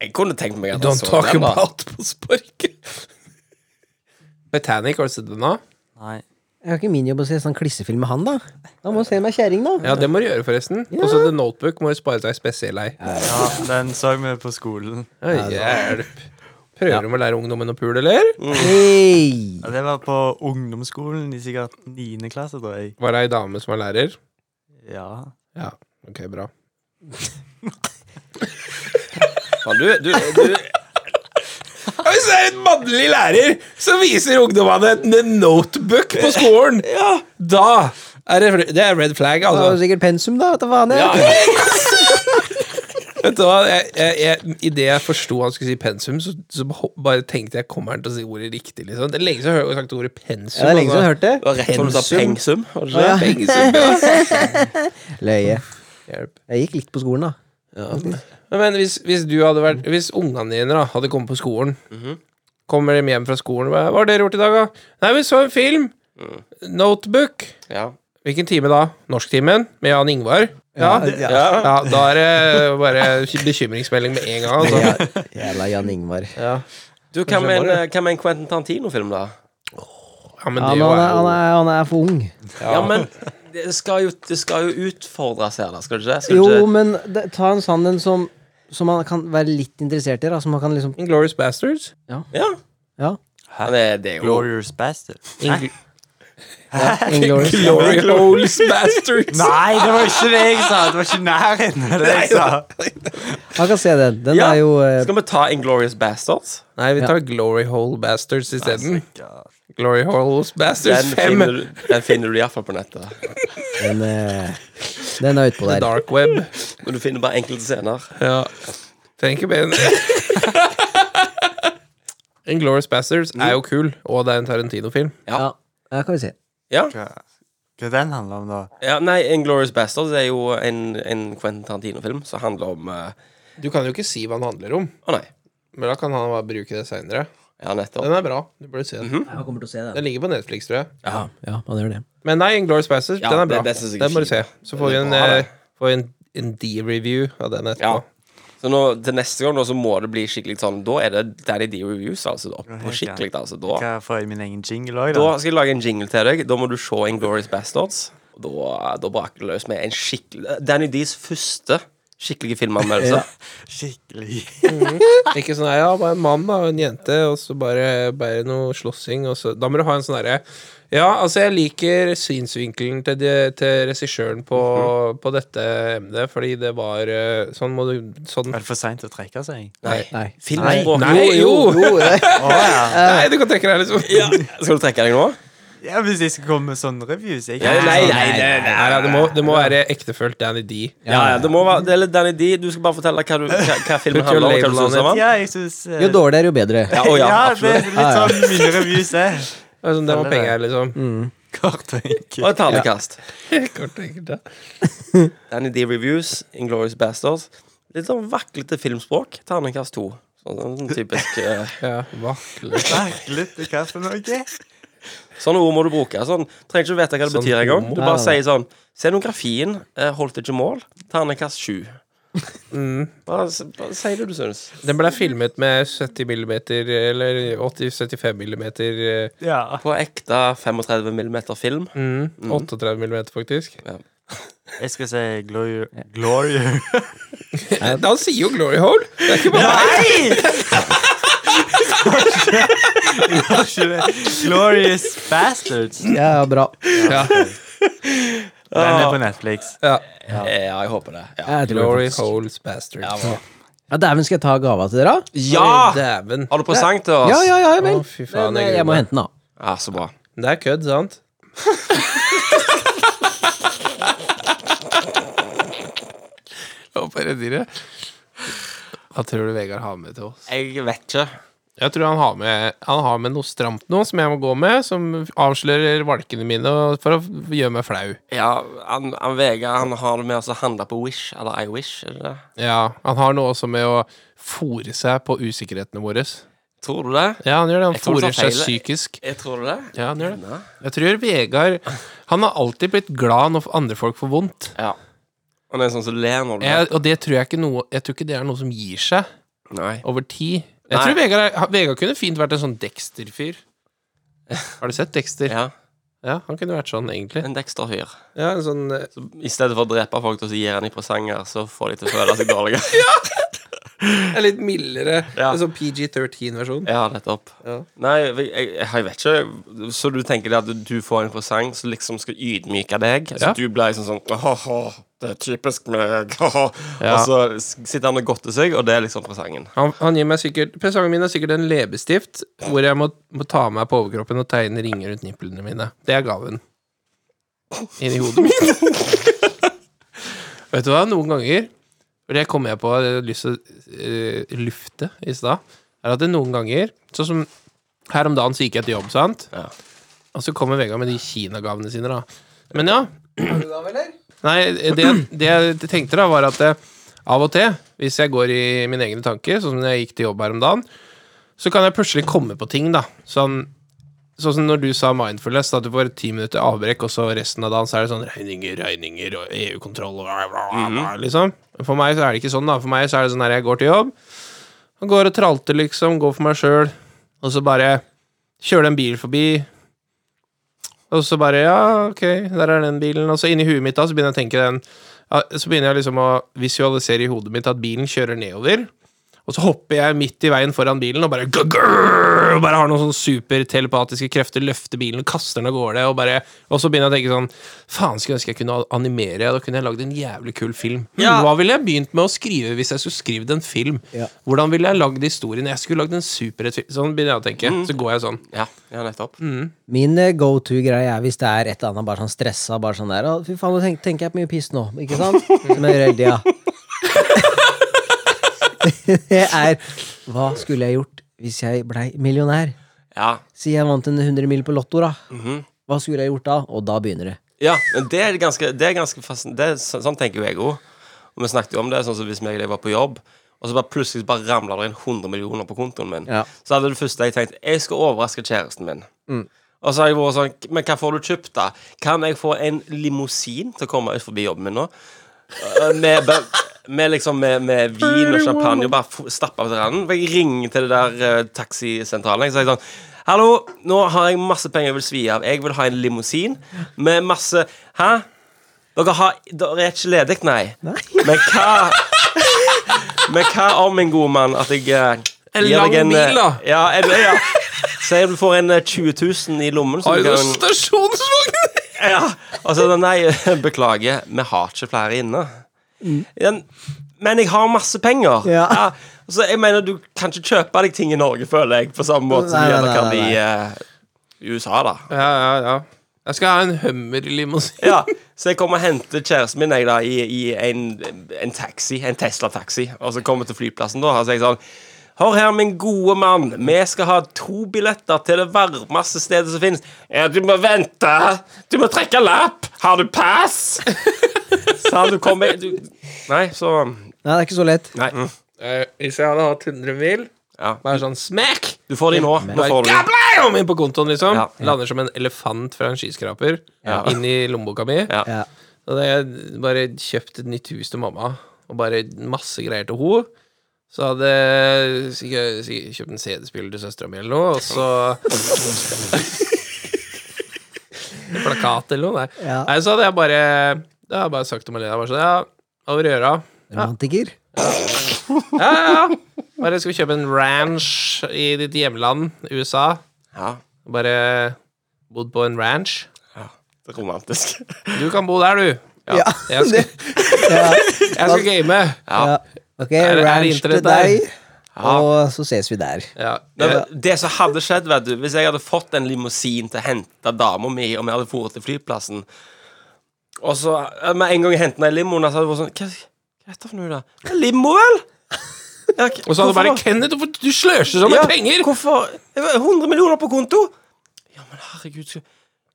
[SPEAKER 4] jeg kunne tenkt meg at jeg
[SPEAKER 3] Don't
[SPEAKER 4] så
[SPEAKER 3] talk
[SPEAKER 4] den, da.
[SPEAKER 3] about på sparket. Titanic, har du sett den nå?
[SPEAKER 6] Nei.
[SPEAKER 5] Jeg har ikke min jobb å se sånn klissefilm med han, da. Da må jeg se meg kjerring, da.
[SPEAKER 3] Ja, det må du gjøre, forresten. Og så The Notebook må du spare deg spesiell ei.
[SPEAKER 6] Ja, den så vi på skolen.
[SPEAKER 3] Å, Hjelp. Prøver du med å lære ungdommen å pule, eller?
[SPEAKER 5] Hey.
[SPEAKER 6] Ja, Det var på ungdomsskolen i sikkert 9. klasse, tror jeg.
[SPEAKER 3] Var det ei dame som var lærer?
[SPEAKER 6] Ja.
[SPEAKER 3] Ja. Ok, bra.
[SPEAKER 4] Faen, Du, du, du,
[SPEAKER 3] Ja, Hvis det er en mannlig lærer som viser ungdommene en notebook på skolen, da er det, det er red flag,
[SPEAKER 5] Det var jo
[SPEAKER 3] altså.
[SPEAKER 5] sikkert pensum, da. Vet du faen, jeg.
[SPEAKER 3] Vet du hva, jeg, jeg, jeg, Idet jeg forsto han skulle si pensum, så, så ho- bare tenkte jeg kommer han til å si ordet riktig. liksom Det er lenge siden jeg har hørt- sagt ordet pensum.
[SPEAKER 5] Ja, det er lenge siden jeg har hørt det.
[SPEAKER 4] altså. det var rett som du sa pengsum. var det ikke det?
[SPEAKER 3] altså. Pensum, ja.
[SPEAKER 5] Løye.
[SPEAKER 3] altså. Hjelp.
[SPEAKER 5] Jeg gikk litt på skolen, da.
[SPEAKER 3] Men hvis, hvis du hadde vært Hvis ungene dine da hadde kommet på skolen
[SPEAKER 5] Mhm.
[SPEAKER 3] Kommer de hjem fra skolen og bare, Hva har dere gjort i dag, da? Nei, vi så en film!
[SPEAKER 5] Mm.
[SPEAKER 3] Notebook.
[SPEAKER 4] Ja.
[SPEAKER 3] Hvilken time da? Norsktimen med Jan Ingvar? Ja, ja.
[SPEAKER 5] ja.
[SPEAKER 3] Da er det bare bekymringsmelding med en gang. Altså.
[SPEAKER 5] ja. Jævla Jan Ingvar.
[SPEAKER 4] Du, hva med en, hva med en Quentin Tarantino-film, da?
[SPEAKER 3] Ja, men det
[SPEAKER 5] Han,
[SPEAKER 3] jo
[SPEAKER 5] han, er,
[SPEAKER 3] er
[SPEAKER 5] han,
[SPEAKER 3] jo
[SPEAKER 5] er, han er for ung.
[SPEAKER 4] Ja, men det skal jo, det skal jo utfordres her, da. Skal det ikke det? Skal det
[SPEAKER 5] Jo,
[SPEAKER 4] ikke?
[SPEAKER 5] men det, ta en sånn en som Som han kan være litt interessert i. Da. Som han kan liksom
[SPEAKER 3] Inglorious Bastards.
[SPEAKER 4] Ja.
[SPEAKER 5] Ja.
[SPEAKER 4] Ja, Det, det er jo
[SPEAKER 6] Glorious Bastard.
[SPEAKER 5] Inglourious.
[SPEAKER 3] Glorious Bastards!
[SPEAKER 6] Nei, det var ikke det jeg sa! Det var ikke nærheten av det jeg sa.
[SPEAKER 5] Han kan se den. Den
[SPEAKER 4] Ja.
[SPEAKER 5] er jo eh,
[SPEAKER 4] Skal vi ta Inglorious Bastards?
[SPEAKER 3] Nei, vi tar Glory Hole Bastards isteden. Glory Holes
[SPEAKER 4] Den
[SPEAKER 3] Bastards 5.
[SPEAKER 4] finner, du- den finner du iallfall på nettet.
[SPEAKER 5] Den, eh, den er utpå der.
[SPEAKER 3] Dark Web.
[SPEAKER 4] Men du finner bare enkelte scener.
[SPEAKER 3] Ja. Trenger ikke mer enn det. Inglorious Bastards er jo kul, og det er en Tarantino-film.
[SPEAKER 5] Ja. ja, kan vi se.
[SPEAKER 4] Ja,
[SPEAKER 6] Hva hva den handler om, da?
[SPEAKER 4] ja Nei, Inglorious Bastards er jo en, en Quentin Tarantino-film som handler om eh,
[SPEAKER 3] Du kan jo ikke si hva den handler om,
[SPEAKER 4] Å, nei.
[SPEAKER 3] men da kan han bare bruke det seinere.
[SPEAKER 4] Ja, nettopp.
[SPEAKER 3] Den er bra. Du burde se den.
[SPEAKER 5] Han kommer til å se
[SPEAKER 3] Den ligger på Netflix, tror jeg.
[SPEAKER 5] Ja, ja han gjør det.
[SPEAKER 3] Men nei, Inglourious Bastards,
[SPEAKER 4] Ja,
[SPEAKER 3] den er
[SPEAKER 4] det-
[SPEAKER 3] bra.
[SPEAKER 4] det synes jeg
[SPEAKER 3] den må
[SPEAKER 4] er
[SPEAKER 3] du se. Så får vi
[SPEAKER 4] Den er
[SPEAKER 3] en,
[SPEAKER 4] bra,
[SPEAKER 3] eh,
[SPEAKER 4] det.
[SPEAKER 3] får vi en, en D-review av den
[SPEAKER 4] Ja.
[SPEAKER 3] etterpå.
[SPEAKER 4] Så nå, til neste gang nå, så må det bli skikkelig sånn Da er det Daddy D Reviews, altså. Opp på skikkelig, altså. Da,
[SPEAKER 6] Hva får jeg min egen jingle òg,
[SPEAKER 4] da
[SPEAKER 6] da?
[SPEAKER 4] skal jeg lage en jingle til deg. Da må du se Inglorious Bastards. Og Da, da braker det løs med en skikkelig Danny Dees første skikkelige filmanmeldelse.
[SPEAKER 6] Skikkelig.
[SPEAKER 3] Ikke sånn ja, bare en mann da, og en jente, og så bare, bare noe slåssing. Og så. Da må du ha en sånn derre Ja, altså, jeg liker synsvinkelen til, de, til regissøren på,
[SPEAKER 4] Mhm.
[SPEAKER 3] på dette emnet, fordi det var eh, Sånn må du Sånn.
[SPEAKER 6] Er det for seint å trekke seg?
[SPEAKER 4] Nei.
[SPEAKER 5] Nei.
[SPEAKER 4] Filmspråk.
[SPEAKER 3] Nei, jo!
[SPEAKER 5] Jo, det-
[SPEAKER 6] Å ja.
[SPEAKER 3] Nei, du kan trekke deg, liksom.
[SPEAKER 4] Ja. Skal du trekke deg nå?
[SPEAKER 6] ja. Hvis jeg skal komme med sånne reviews jeg
[SPEAKER 4] Ja, nei, nei, nei, nei.
[SPEAKER 3] Nei, Sånn- ja, det, må, det må være ektefølt Danny D.
[SPEAKER 4] Ja, ja, det må være det er litt Danny D. Du skal bare fortelle hva, du, hva, hva filmen
[SPEAKER 3] Put your
[SPEAKER 4] handler om. og Hva
[SPEAKER 3] label
[SPEAKER 4] du synes
[SPEAKER 3] on
[SPEAKER 4] om den.
[SPEAKER 6] Ja, jeg syns
[SPEAKER 5] jo dårligere, jo bedre.
[SPEAKER 4] Ja, å, ja,
[SPEAKER 6] ja, det
[SPEAKER 4] absolutt.
[SPEAKER 6] er litt sånn mine reviews er.
[SPEAKER 3] Altså, det var
[SPEAKER 6] Følger
[SPEAKER 3] penger, liksom.
[SPEAKER 4] Mm.
[SPEAKER 6] Kort og
[SPEAKER 4] Og
[SPEAKER 6] enkelt.
[SPEAKER 4] et ternekast.
[SPEAKER 3] Kort og enkelt, ja.
[SPEAKER 4] Danny D Reviews, Inglorious Bastards. Litt sånn vaklete filmspråk. Ternekast to. Sånn, sånn typisk eh,
[SPEAKER 3] ja. Vakler.
[SPEAKER 6] Merkelig til hva for noe.
[SPEAKER 4] Sånne ord må du bruke. Sånn, trenger ikke vite hva det
[SPEAKER 3] Sånn
[SPEAKER 4] betyr engang. Du
[SPEAKER 5] homo.
[SPEAKER 4] bare
[SPEAKER 5] Nei, nei,
[SPEAKER 4] sier sånn Scenografien eh, holdt ikke mål. Ternekast sju. Bare, s- bare si det du syns.
[SPEAKER 3] Den ble filmet med 70 millimeter, eller 80-75 millimeter eh,
[SPEAKER 6] Ja.
[SPEAKER 4] På ekte 35 mm film.
[SPEAKER 3] 38 millimeter, faktisk.
[SPEAKER 6] Jeg skal si Glory Glory
[SPEAKER 3] Han sier jo Glory Hole! Det er ikke bare
[SPEAKER 6] Nei! Glorious Bastards.
[SPEAKER 5] Ja, bra.
[SPEAKER 3] ja.
[SPEAKER 6] Den er på Netflix.
[SPEAKER 3] Ja.
[SPEAKER 4] Ja, jeg håper det. Ja.
[SPEAKER 5] Jeg tror
[SPEAKER 3] Glory
[SPEAKER 5] det faktisk.
[SPEAKER 3] Holes Bastard.
[SPEAKER 4] bra.
[SPEAKER 5] Ja, Dæven, skal jeg ta gava til dere? da?
[SPEAKER 3] Oi, Dæven.
[SPEAKER 4] Har du presang til oss?
[SPEAKER 5] Ja, ja, ja vel.
[SPEAKER 3] Å, fy faen,
[SPEAKER 5] Men, eh,
[SPEAKER 3] jeg
[SPEAKER 5] jeg må
[SPEAKER 3] gruer meg.
[SPEAKER 5] hente den, da.
[SPEAKER 4] Ja, Ah, så bra.
[SPEAKER 3] Det er kødd, sant? Hva tror du Vegard har med til oss?
[SPEAKER 4] Jeg vet ikke.
[SPEAKER 3] Jeg tror han har med, han har med noe stramt nå som jeg må gå med, som avslører valkene mine og- for å gjøre meg flau.
[SPEAKER 4] Ja, han, han Vegard han har det med å handle på Wish, eller I Wish, er det det?
[SPEAKER 3] Ja, Han har noe også med å fòre seg på usikkerhetene våre.
[SPEAKER 4] Tror du det?
[SPEAKER 3] Ja, han gjør det. Han
[SPEAKER 4] Jeg tror det
[SPEAKER 3] fòrer
[SPEAKER 4] tar
[SPEAKER 3] seg
[SPEAKER 4] feil.
[SPEAKER 3] psykisk.
[SPEAKER 4] Jeg tror det.
[SPEAKER 3] Ja, han gjør det. Jeg tror Vegard Han har alltid blitt glad når andre folk får vondt.
[SPEAKER 4] Ja. Han er sånn som ler når du
[SPEAKER 3] Jeg, og det tror jeg ikke noe Jeg tror ikke det er noe som gir seg
[SPEAKER 4] Nei.
[SPEAKER 3] over tid. Jeg
[SPEAKER 4] Nei.
[SPEAKER 3] tror Vegard, er, han- Vegard kunne fint vært en sånn Dexter-fyr. Har du sett Dexter? Ja.
[SPEAKER 4] Ja,
[SPEAKER 3] han kunne vært sånn, egentlig.
[SPEAKER 4] en Dexter-fyr.
[SPEAKER 2] Ja, en sånn eh,
[SPEAKER 4] Så I stedet for å drepe folk og så gir han dem presanger, så får de til å føle seg dårlige.
[SPEAKER 2] en litt mildere
[SPEAKER 4] Ja.
[SPEAKER 2] en sånn PG-13-versjon.
[SPEAKER 4] Ja, nettopp.
[SPEAKER 2] Ja.
[SPEAKER 4] Nei, jeg, jeg, jeg vet ikke. Så du tenker det at du får en presang som liksom skal ydmyke deg? Så
[SPEAKER 3] Ja.
[SPEAKER 4] du blir liksom sånn Haha, det er typisk meg. haha».
[SPEAKER 3] Ja.
[SPEAKER 4] Og så s- sitter han og godter seg, og det er liksom presangen.
[SPEAKER 3] Han, han gir meg sikkert Presangen min er sikkert en leppestift hvor jeg må, må ta av meg på overkroppen og tegne ringer rundt nipplene mine. Det er gaven. Inni hodet mitt. Vet du hva, noen ganger Og det kom jeg på, jeg hadde lyst til å eh, lufte i stad, er at det noen ganger Sånn som her om dagen så gikk jeg til jobb, sant?
[SPEAKER 4] Ja.
[SPEAKER 3] Og så kommer Vegard med de kinagavene sine, da. Men ja, Nei, det, det jeg tenkte da var at eh, av og til, hvis jeg går i mine egne tanker, sånn som når jeg gikk til jobb her om dagen, så kan jeg plutselig komme på ting, da. Sånn, sånn som når du sa mindfulness, at du får ti minutter avbrekk, og så resten av dagen så er det sånn regninger, regninger og EU-kontroll og bla, bla, bla, bla, liksom. Men For meg så er det ikke sånn, da. For meg så er det sånn her jeg går til jobb, og går og tralter, liksom, går for meg sjøl, og så bare kjører det en bil forbi, og så bare Ja, ok, der er den bilen. Og så inni huet mitt da, så begynner jeg å tenke den ja, Så begynner jeg liksom å visualisere i hodet mitt at bilen kjører nedover. Og så hopper jeg midt i veien foran bilen og bare grrr, og Bare har noen sånne supertelepatiske krefter, løfter bilen, kaster den av gårde, og bare Og så begynner jeg å tenke sånn Faen, skulle ønske jeg kunne animere, da kunne jeg lagd en jævlig kul film. Hm, Hva ville jeg begynt med å skrive hvis jeg skulle skrevet en film?
[SPEAKER 5] Ja.
[SPEAKER 3] Hvordan ville jeg lagd historien? Jeg skulle lagd en superhett film. Sånn begynner jeg å tenke. Så går jeg sånn.
[SPEAKER 4] Ja, ja nettopp.
[SPEAKER 5] Min go to-greie er hvis det er et eller annet bare sånn stressa, bare sånn der Å, fy faen, nå tenk, tenker jeg på mye piss nå, ikke sant? Som jeg gjør hele tida. det er Hva skulle jeg gjort hvis jeg blei millionær?
[SPEAKER 4] Ja.
[SPEAKER 5] Si jeg vant en 100 mil på Lotto, da. Hva skulle jeg gjort da? Og da begynner det.
[SPEAKER 4] Ja, men det er ganske, det er ganske fascin- det er, så- Sånn tenker jo jeg òg. Og vi snakket jo om det, sånn som hvis meg og deg var på jobb, og så bare plutselig bare ramla det inn 100 millioner på kontoen min.
[SPEAKER 5] Ja.
[SPEAKER 4] Så hadde det første jeg tenkt Jeg skal overraske kjæresten min. Og så har jeg vært sånn Men hva får du kjøpt, da? Kan jeg få en limousin til å komme ut forbi jobben min nå? Eh, Med, bare- med liksom med, med vin og champagne og bare f- stappe til randen. For Jeg ringer til det der eh, taxisentralen og sier jeg sånn Hallo, nå har jeg masse penger jeg vil svi av. Jeg vil ha en limousin med masse Hæ? Dere, har, dere er ikke ledig, nei. Men hva Men hva om, min gode mann, at jeg eh,
[SPEAKER 3] En
[SPEAKER 4] gir
[SPEAKER 3] lang
[SPEAKER 4] deg eh,
[SPEAKER 3] bil, da.
[SPEAKER 4] Ja, en, ja. Si du får en eh, 20 000 i lommen. Så
[SPEAKER 3] Har
[SPEAKER 4] du
[SPEAKER 3] du
[SPEAKER 4] kan,
[SPEAKER 3] stasjonsvogn?
[SPEAKER 4] ja. Altså, Og så er det, nei, eh, beklager, vi har ikke flere inne. Den, men jeg har masse penger.
[SPEAKER 5] Mm. Ja.
[SPEAKER 4] så jeg mener, du kan ikke kjøpe deg ting i Norge, føler jeg, på samme måte som
[SPEAKER 5] Nei,
[SPEAKER 4] du
[SPEAKER 5] nei,
[SPEAKER 4] gjerne
[SPEAKER 5] nei,
[SPEAKER 4] kan
[SPEAKER 5] nei,
[SPEAKER 4] i eh, USA, da.
[SPEAKER 3] Ja, ja, ja. Jeg skal ha en Hummer-limousin.
[SPEAKER 4] Ja, så jeg kommer og henter kjæresten min jeg, da, i, i en, en taxi, en Tesla-taxi, og så kommer jeg til flyplassen da, og så er jeg sånn Hør her, min gode mann, vi skal ha to billetter til det varmeste stedet som finnes. Ja, du må vente! Du må trekke lapp! Har du pass? Sa du kommer du... Nei, så Mm.
[SPEAKER 5] Nei, det er ikke så lett.
[SPEAKER 4] Nei.
[SPEAKER 3] Eh, Hvis jeg hadde hatt 100 mil,
[SPEAKER 4] Ja.
[SPEAKER 3] bare sånn smack
[SPEAKER 4] Du får de nå. Nå får du de.
[SPEAKER 3] Gablam! Inn på kontoen, liksom.
[SPEAKER 4] Ja.
[SPEAKER 3] Lander som en elefant fra en skyskraper
[SPEAKER 4] Ja.
[SPEAKER 3] inn i lommeboka mi.
[SPEAKER 4] Ja.
[SPEAKER 5] Ja.
[SPEAKER 3] Og da jeg bare kjøpt et nytt hus til mamma, og bare masse greier til henne. Så hadde jeg sikkert- sikkert kjøpt en CD-spiller til søstera mi eller noe, og så Plakat eller noe, nei.
[SPEAKER 5] Ja.
[SPEAKER 3] nei. Så hadde jeg bare Da hadde jeg bare sagt til Malena bare sånn Ja, over øra.
[SPEAKER 5] Romantiker.
[SPEAKER 3] Ja, ja, ja. Bare skal kjøpe en ranch i ditt hjemland, USA.
[SPEAKER 4] Ja.
[SPEAKER 3] Bare bodd på en ranch.
[SPEAKER 4] Det er romantisk.
[SPEAKER 3] Du kan bo der, du.
[SPEAKER 5] Ja.
[SPEAKER 3] Jeg skal,
[SPEAKER 5] Ja.
[SPEAKER 3] jeg skal game.
[SPEAKER 5] ja. Ok,
[SPEAKER 3] er det
[SPEAKER 5] ranch til
[SPEAKER 3] internett
[SPEAKER 5] deg,
[SPEAKER 4] Ja.
[SPEAKER 5] og så ses vi der.
[SPEAKER 3] Ja.
[SPEAKER 4] Nei, men det som hadde skjedd, vet du Hvis jeg hadde fått en limousin til å hente dama mi, og vi hadde dratt til flyplassen Og så eh, med en gang jeg hentet den i limoen, så hadde det vært sånn Hva, hva er dette for noe, da? En limo, vel? Ja, k-
[SPEAKER 3] Og så hadde bare
[SPEAKER 4] hvorfor-
[SPEAKER 3] Kenneth, hvorfor du sløser sånn med
[SPEAKER 4] Ja,
[SPEAKER 3] penger?
[SPEAKER 4] Hvorfor? Jeg vet, 100 millioner på konto? Ja, men herregud skal,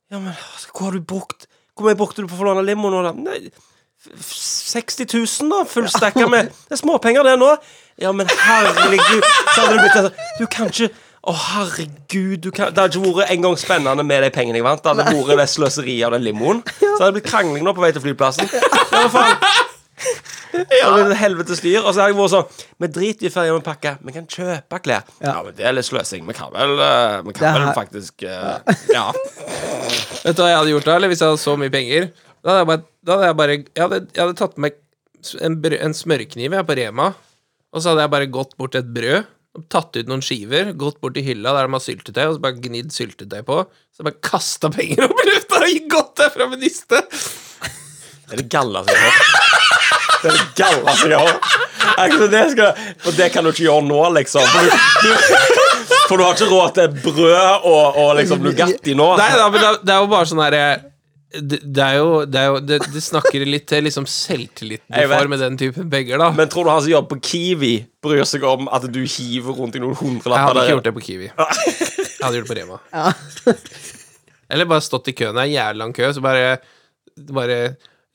[SPEAKER 4] Ja, men altså, hva har du brukt? Hvor mye brukte du på å forlåne limo nå, da? Nei, f- f- 60 000, da? Fullstakka med Det er småpenger, det nå. Ja, men herregud. Så hadde det blitt sånn Du kan ikke å, herregud. Du kan, det hadde ikke vært engang spennende med de pengene jeg vant. Det hadde vært det sløseriet av den limoen. Så hadde det blitt krangling nå på vei til flyplassen. Ja, men faen ja. Og det er et helvetes dyr. Og så har jeg vært sånn Vi driter i ferie med pakke, vi kan kjøpe klær. Ja, men det er litt sløsing. Vi kan vel, eh, vi
[SPEAKER 5] Det
[SPEAKER 4] kan vel
[SPEAKER 5] her-
[SPEAKER 4] faktisk eh, Ja.
[SPEAKER 3] Vet du hva jeg hadde gjort da, eller hvis jeg hadde så mye penger? Da hadde jeg bare, da hadde jeg, bare jeg, hadde, jeg hadde tatt med s- en, brød, en smørkniv jeg på Rema, og så hadde jeg bare gått bort til et brød, og tatt ut noen skiver, gått bort til hylla der de har syltetøy, og så bare gnidd syltetøy på, så bare kasta penger opp i lufta og gått derfra med niste.
[SPEAKER 4] Det er det galleste jeg har hørt. Det er det galleste jeg har hørt. Akkurat det skal For det kan du ikke gjøre nå, liksom. For du, du, for du har ikke råd til brød og, og liksom Nugatti nå.
[SPEAKER 3] Nei da, men det er- det er jo bare sånn herre det, det er jo Det, er jo, det, det snakker litt til liksom selvtilliten du
[SPEAKER 4] Jeg vet.
[SPEAKER 3] får med den typen penger, da.
[SPEAKER 4] Men tror du han som jobber på Kiwi, bryr seg om at du hiver rundt i noen
[SPEAKER 3] Jeg
[SPEAKER 4] hundrelapper?
[SPEAKER 3] hadde ikke
[SPEAKER 4] der?
[SPEAKER 3] gjort det på Kiwi. Jeg hadde gjort det på Rema. Eller bare stått i køen. Det er en jævlig lang kø, så bare, bare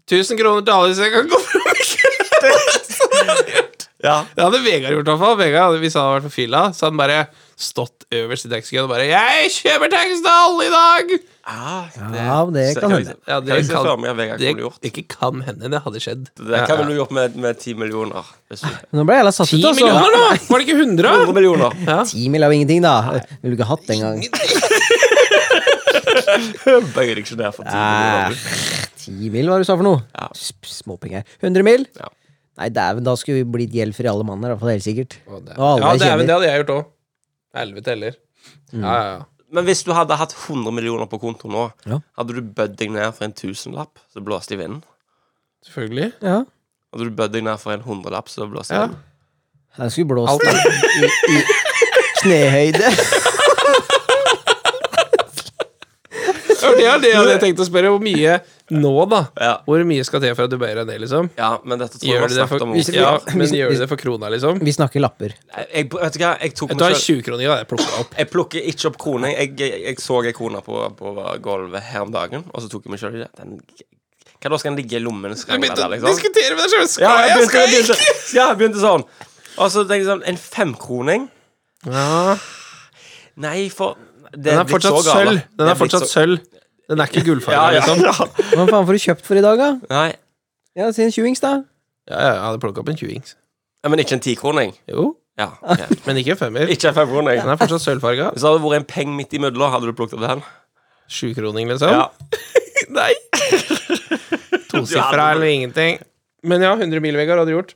[SPEAKER 3] 1000 kroner til alle, så jeg kan gå fram i køen.
[SPEAKER 4] Ja.
[SPEAKER 3] Det hadde Vegard gjort, i hvert fall. Vegard, hadde- Hvis han hadde vært på fylla, så hadde han bare stått øverst i taxikøen og bare 'Jeg kjøper taxi til alle i dag!'
[SPEAKER 5] Ja, men det
[SPEAKER 4] Så
[SPEAKER 5] kan
[SPEAKER 4] Ah, jeg
[SPEAKER 5] hende.
[SPEAKER 4] liksom-
[SPEAKER 3] Ja,
[SPEAKER 4] kan jeg se
[SPEAKER 3] kan-
[SPEAKER 4] for meg at Vegard
[SPEAKER 3] det
[SPEAKER 4] kunne gjort.
[SPEAKER 3] ikke kan hende. Det hadde skjedd.
[SPEAKER 4] Det kan vel du gjort med, med 10 millioner. Hvis du,
[SPEAKER 5] Nå ble jeg jævla satt
[SPEAKER 3] 10
[SPEAKER 5] ut, altså.
[SPEAKER 3] millioner nå! Var det ikke
[SPEAKER 4] 100
[SPEAKER 3] 100?
[SPEAKER 4] millioner.
[SPEAKER 5] Ti mil er jo ingenting, da. Ville du ikke hatt det engang?
[SPEAKER 4] Bøyer deg ikke ned for 10
[SPEAKER 5] Æh,
[SPEAKER 4] millioner.
[SPEAKER 5] Ti mil, hva var det du sa for noe?
[SPEAKER 4] Ja.
[SPEAKER 5] S- Småpenger. 100 mil?
[SPEAKER 4] Ja.
[SPEAKER 5] Nei, dæven, da skulle vi blitt gjeldfrie alle mann her, i hvert fall helt sikkert.
[SPEAKER 3] Å, det-
[SPEAKER 5] Og alle
[SPEAKER 3] Ja,
[SPEAKER 5] jeg
[SPEAKER 3] det, er, men det
[SPEAKER 5] kjenner.
[SPEAKER 3] hadde jeg gjort òg. Helvete heller. Ja, ja, ja.
[SPEAKER 4] Men hvis du hadde hatt 100 millioner på konto nå,
[SPEAKER 5] Ja.
[SPEAKER 4] hadde du bødd deg ned for en tusenlapp, så blåste i vinden?
[SPEAKER 3] Selvfølgelig.
[SPEAKER 5] Ja.
[SPEAKER 4] Hadde du bødd deg ned for en hundrelapp, så blåste i
[SPEAKER 3] Ja.
[SPEAKER 4] vinden?
[SPEAKER 5] Den skulle blåst i, i, i knehøyde.
[SPEAKER 3] Ja, det er det jeg hadde tenkt å spørre. Hvor mye nå, da?
[SPEAKER 4] Ja.
[SPEAKER 3] Hvor mye skal til for at du bøyer deg ned, liksom?
[SPEAKER 4] ja, men dette tror jeg vi
[SPEAKER 3] Gjør
[SPEAKER 4] har
[SPEAKER 3] du det
[SPEAKER 4] snakket
[SPEAKER 3] for,
[SPEAKER 4] om.
[SPEAKER 5] Hvis-
[SPEAKER 3] ja, men
[SPEAKER 5] hvis-
[SPEAKER 3] gjør
[SPEAKER 5] hvis-
[SPEAKER 3] du det for krona, liksom?
[SPEAKER 5] Vi snakker lapper.
[SPEAKER 4] Jeg, vet du hva, jeg tok
[SPEAKER 3] Du har
[SPEAKER 4] meg
[SPEAKER 3] en
[SPEAKER 4] selv
[SPEAKER 3] 20-kroning av det, plukka opp.
[SPEAKER 4] Jeg plukker ikke opp kroner. Jeg, jeg, jeg så ei krone på, på gulvet her om dagen, og så tok jeg meg sjøl i det. Den, hva da skal den ligge i lommen?
[SPEAKER 3] Du
[SPEAKER 4] skrangle
[SPEAKER 3] begynte
[SPEAKER 4] der,
[SPEAKER 3] å
[SPEAKER 4] liksom?
[SPEAKER 3] diskutere med deg sjøl.
[SPEAKER 4] Ja,
[SPEAKER 3] Skal
[SPEAKER 4] jeg
[SPEAKER 3] jeg,
[SPEAKER 4] begynte,
[SPEAKER 3] skal
[SPEAKER 4] jeg
[SPEAKER 3] jeg?
[SPEAKER 4] begynte, ja, jeg begynte sånn. Og så tenkte jeg sånn En femkroning? Nei, for det
[SPEAKER 3] Den er
[SPEAKER 4] blitt
[SPEAKER 3] fortsatt
[SPEAKER 4] så gale.
[SPEAKER 3] sølv.
[SPEAKER 4] Det
[SPEAKER 3] Den er
[SPEAKER 4] blitt
[SPEAKER 3] fortsatt
[SPEAKER 4] så-
[SPEAKER 3] sølv. Den er ikke gullfarga,
[SPEAKER 4] Ja, ja,
[SPEAKER 3] liksom.
[SPEAKER 4] ja.
[SPEAKER 5] Hva faen får du kjøpt for i dag, da?
[SPEAKER 4] Nei,
[SPEAKER 5] Ja, Si en tjuings, da.
[SPEAKER 3] Ja, ja, jeg hadde plukka opp en 20-ings.
[SPEAKER 4] Ja, men ikke en tikroning.
[SPEAKER 3] Jo,
[SPEAKER 4] Ja, ok.
[SPEAKER 3] men ikke en femmer.
[SPEAKER 4] Ikke en femkroning.
[SPEAKER 3] Den er fortsatt sølvfarga.
[SPEAKER 4] Hvis det hadde vært en peng midt imellom, hadde du plukket opp den?
[SPEAKER 3] Sjukroning, liksom. Nei. Tosifra eller ingenting. Men ja, 100 mil, Vegard, hadde du gjort.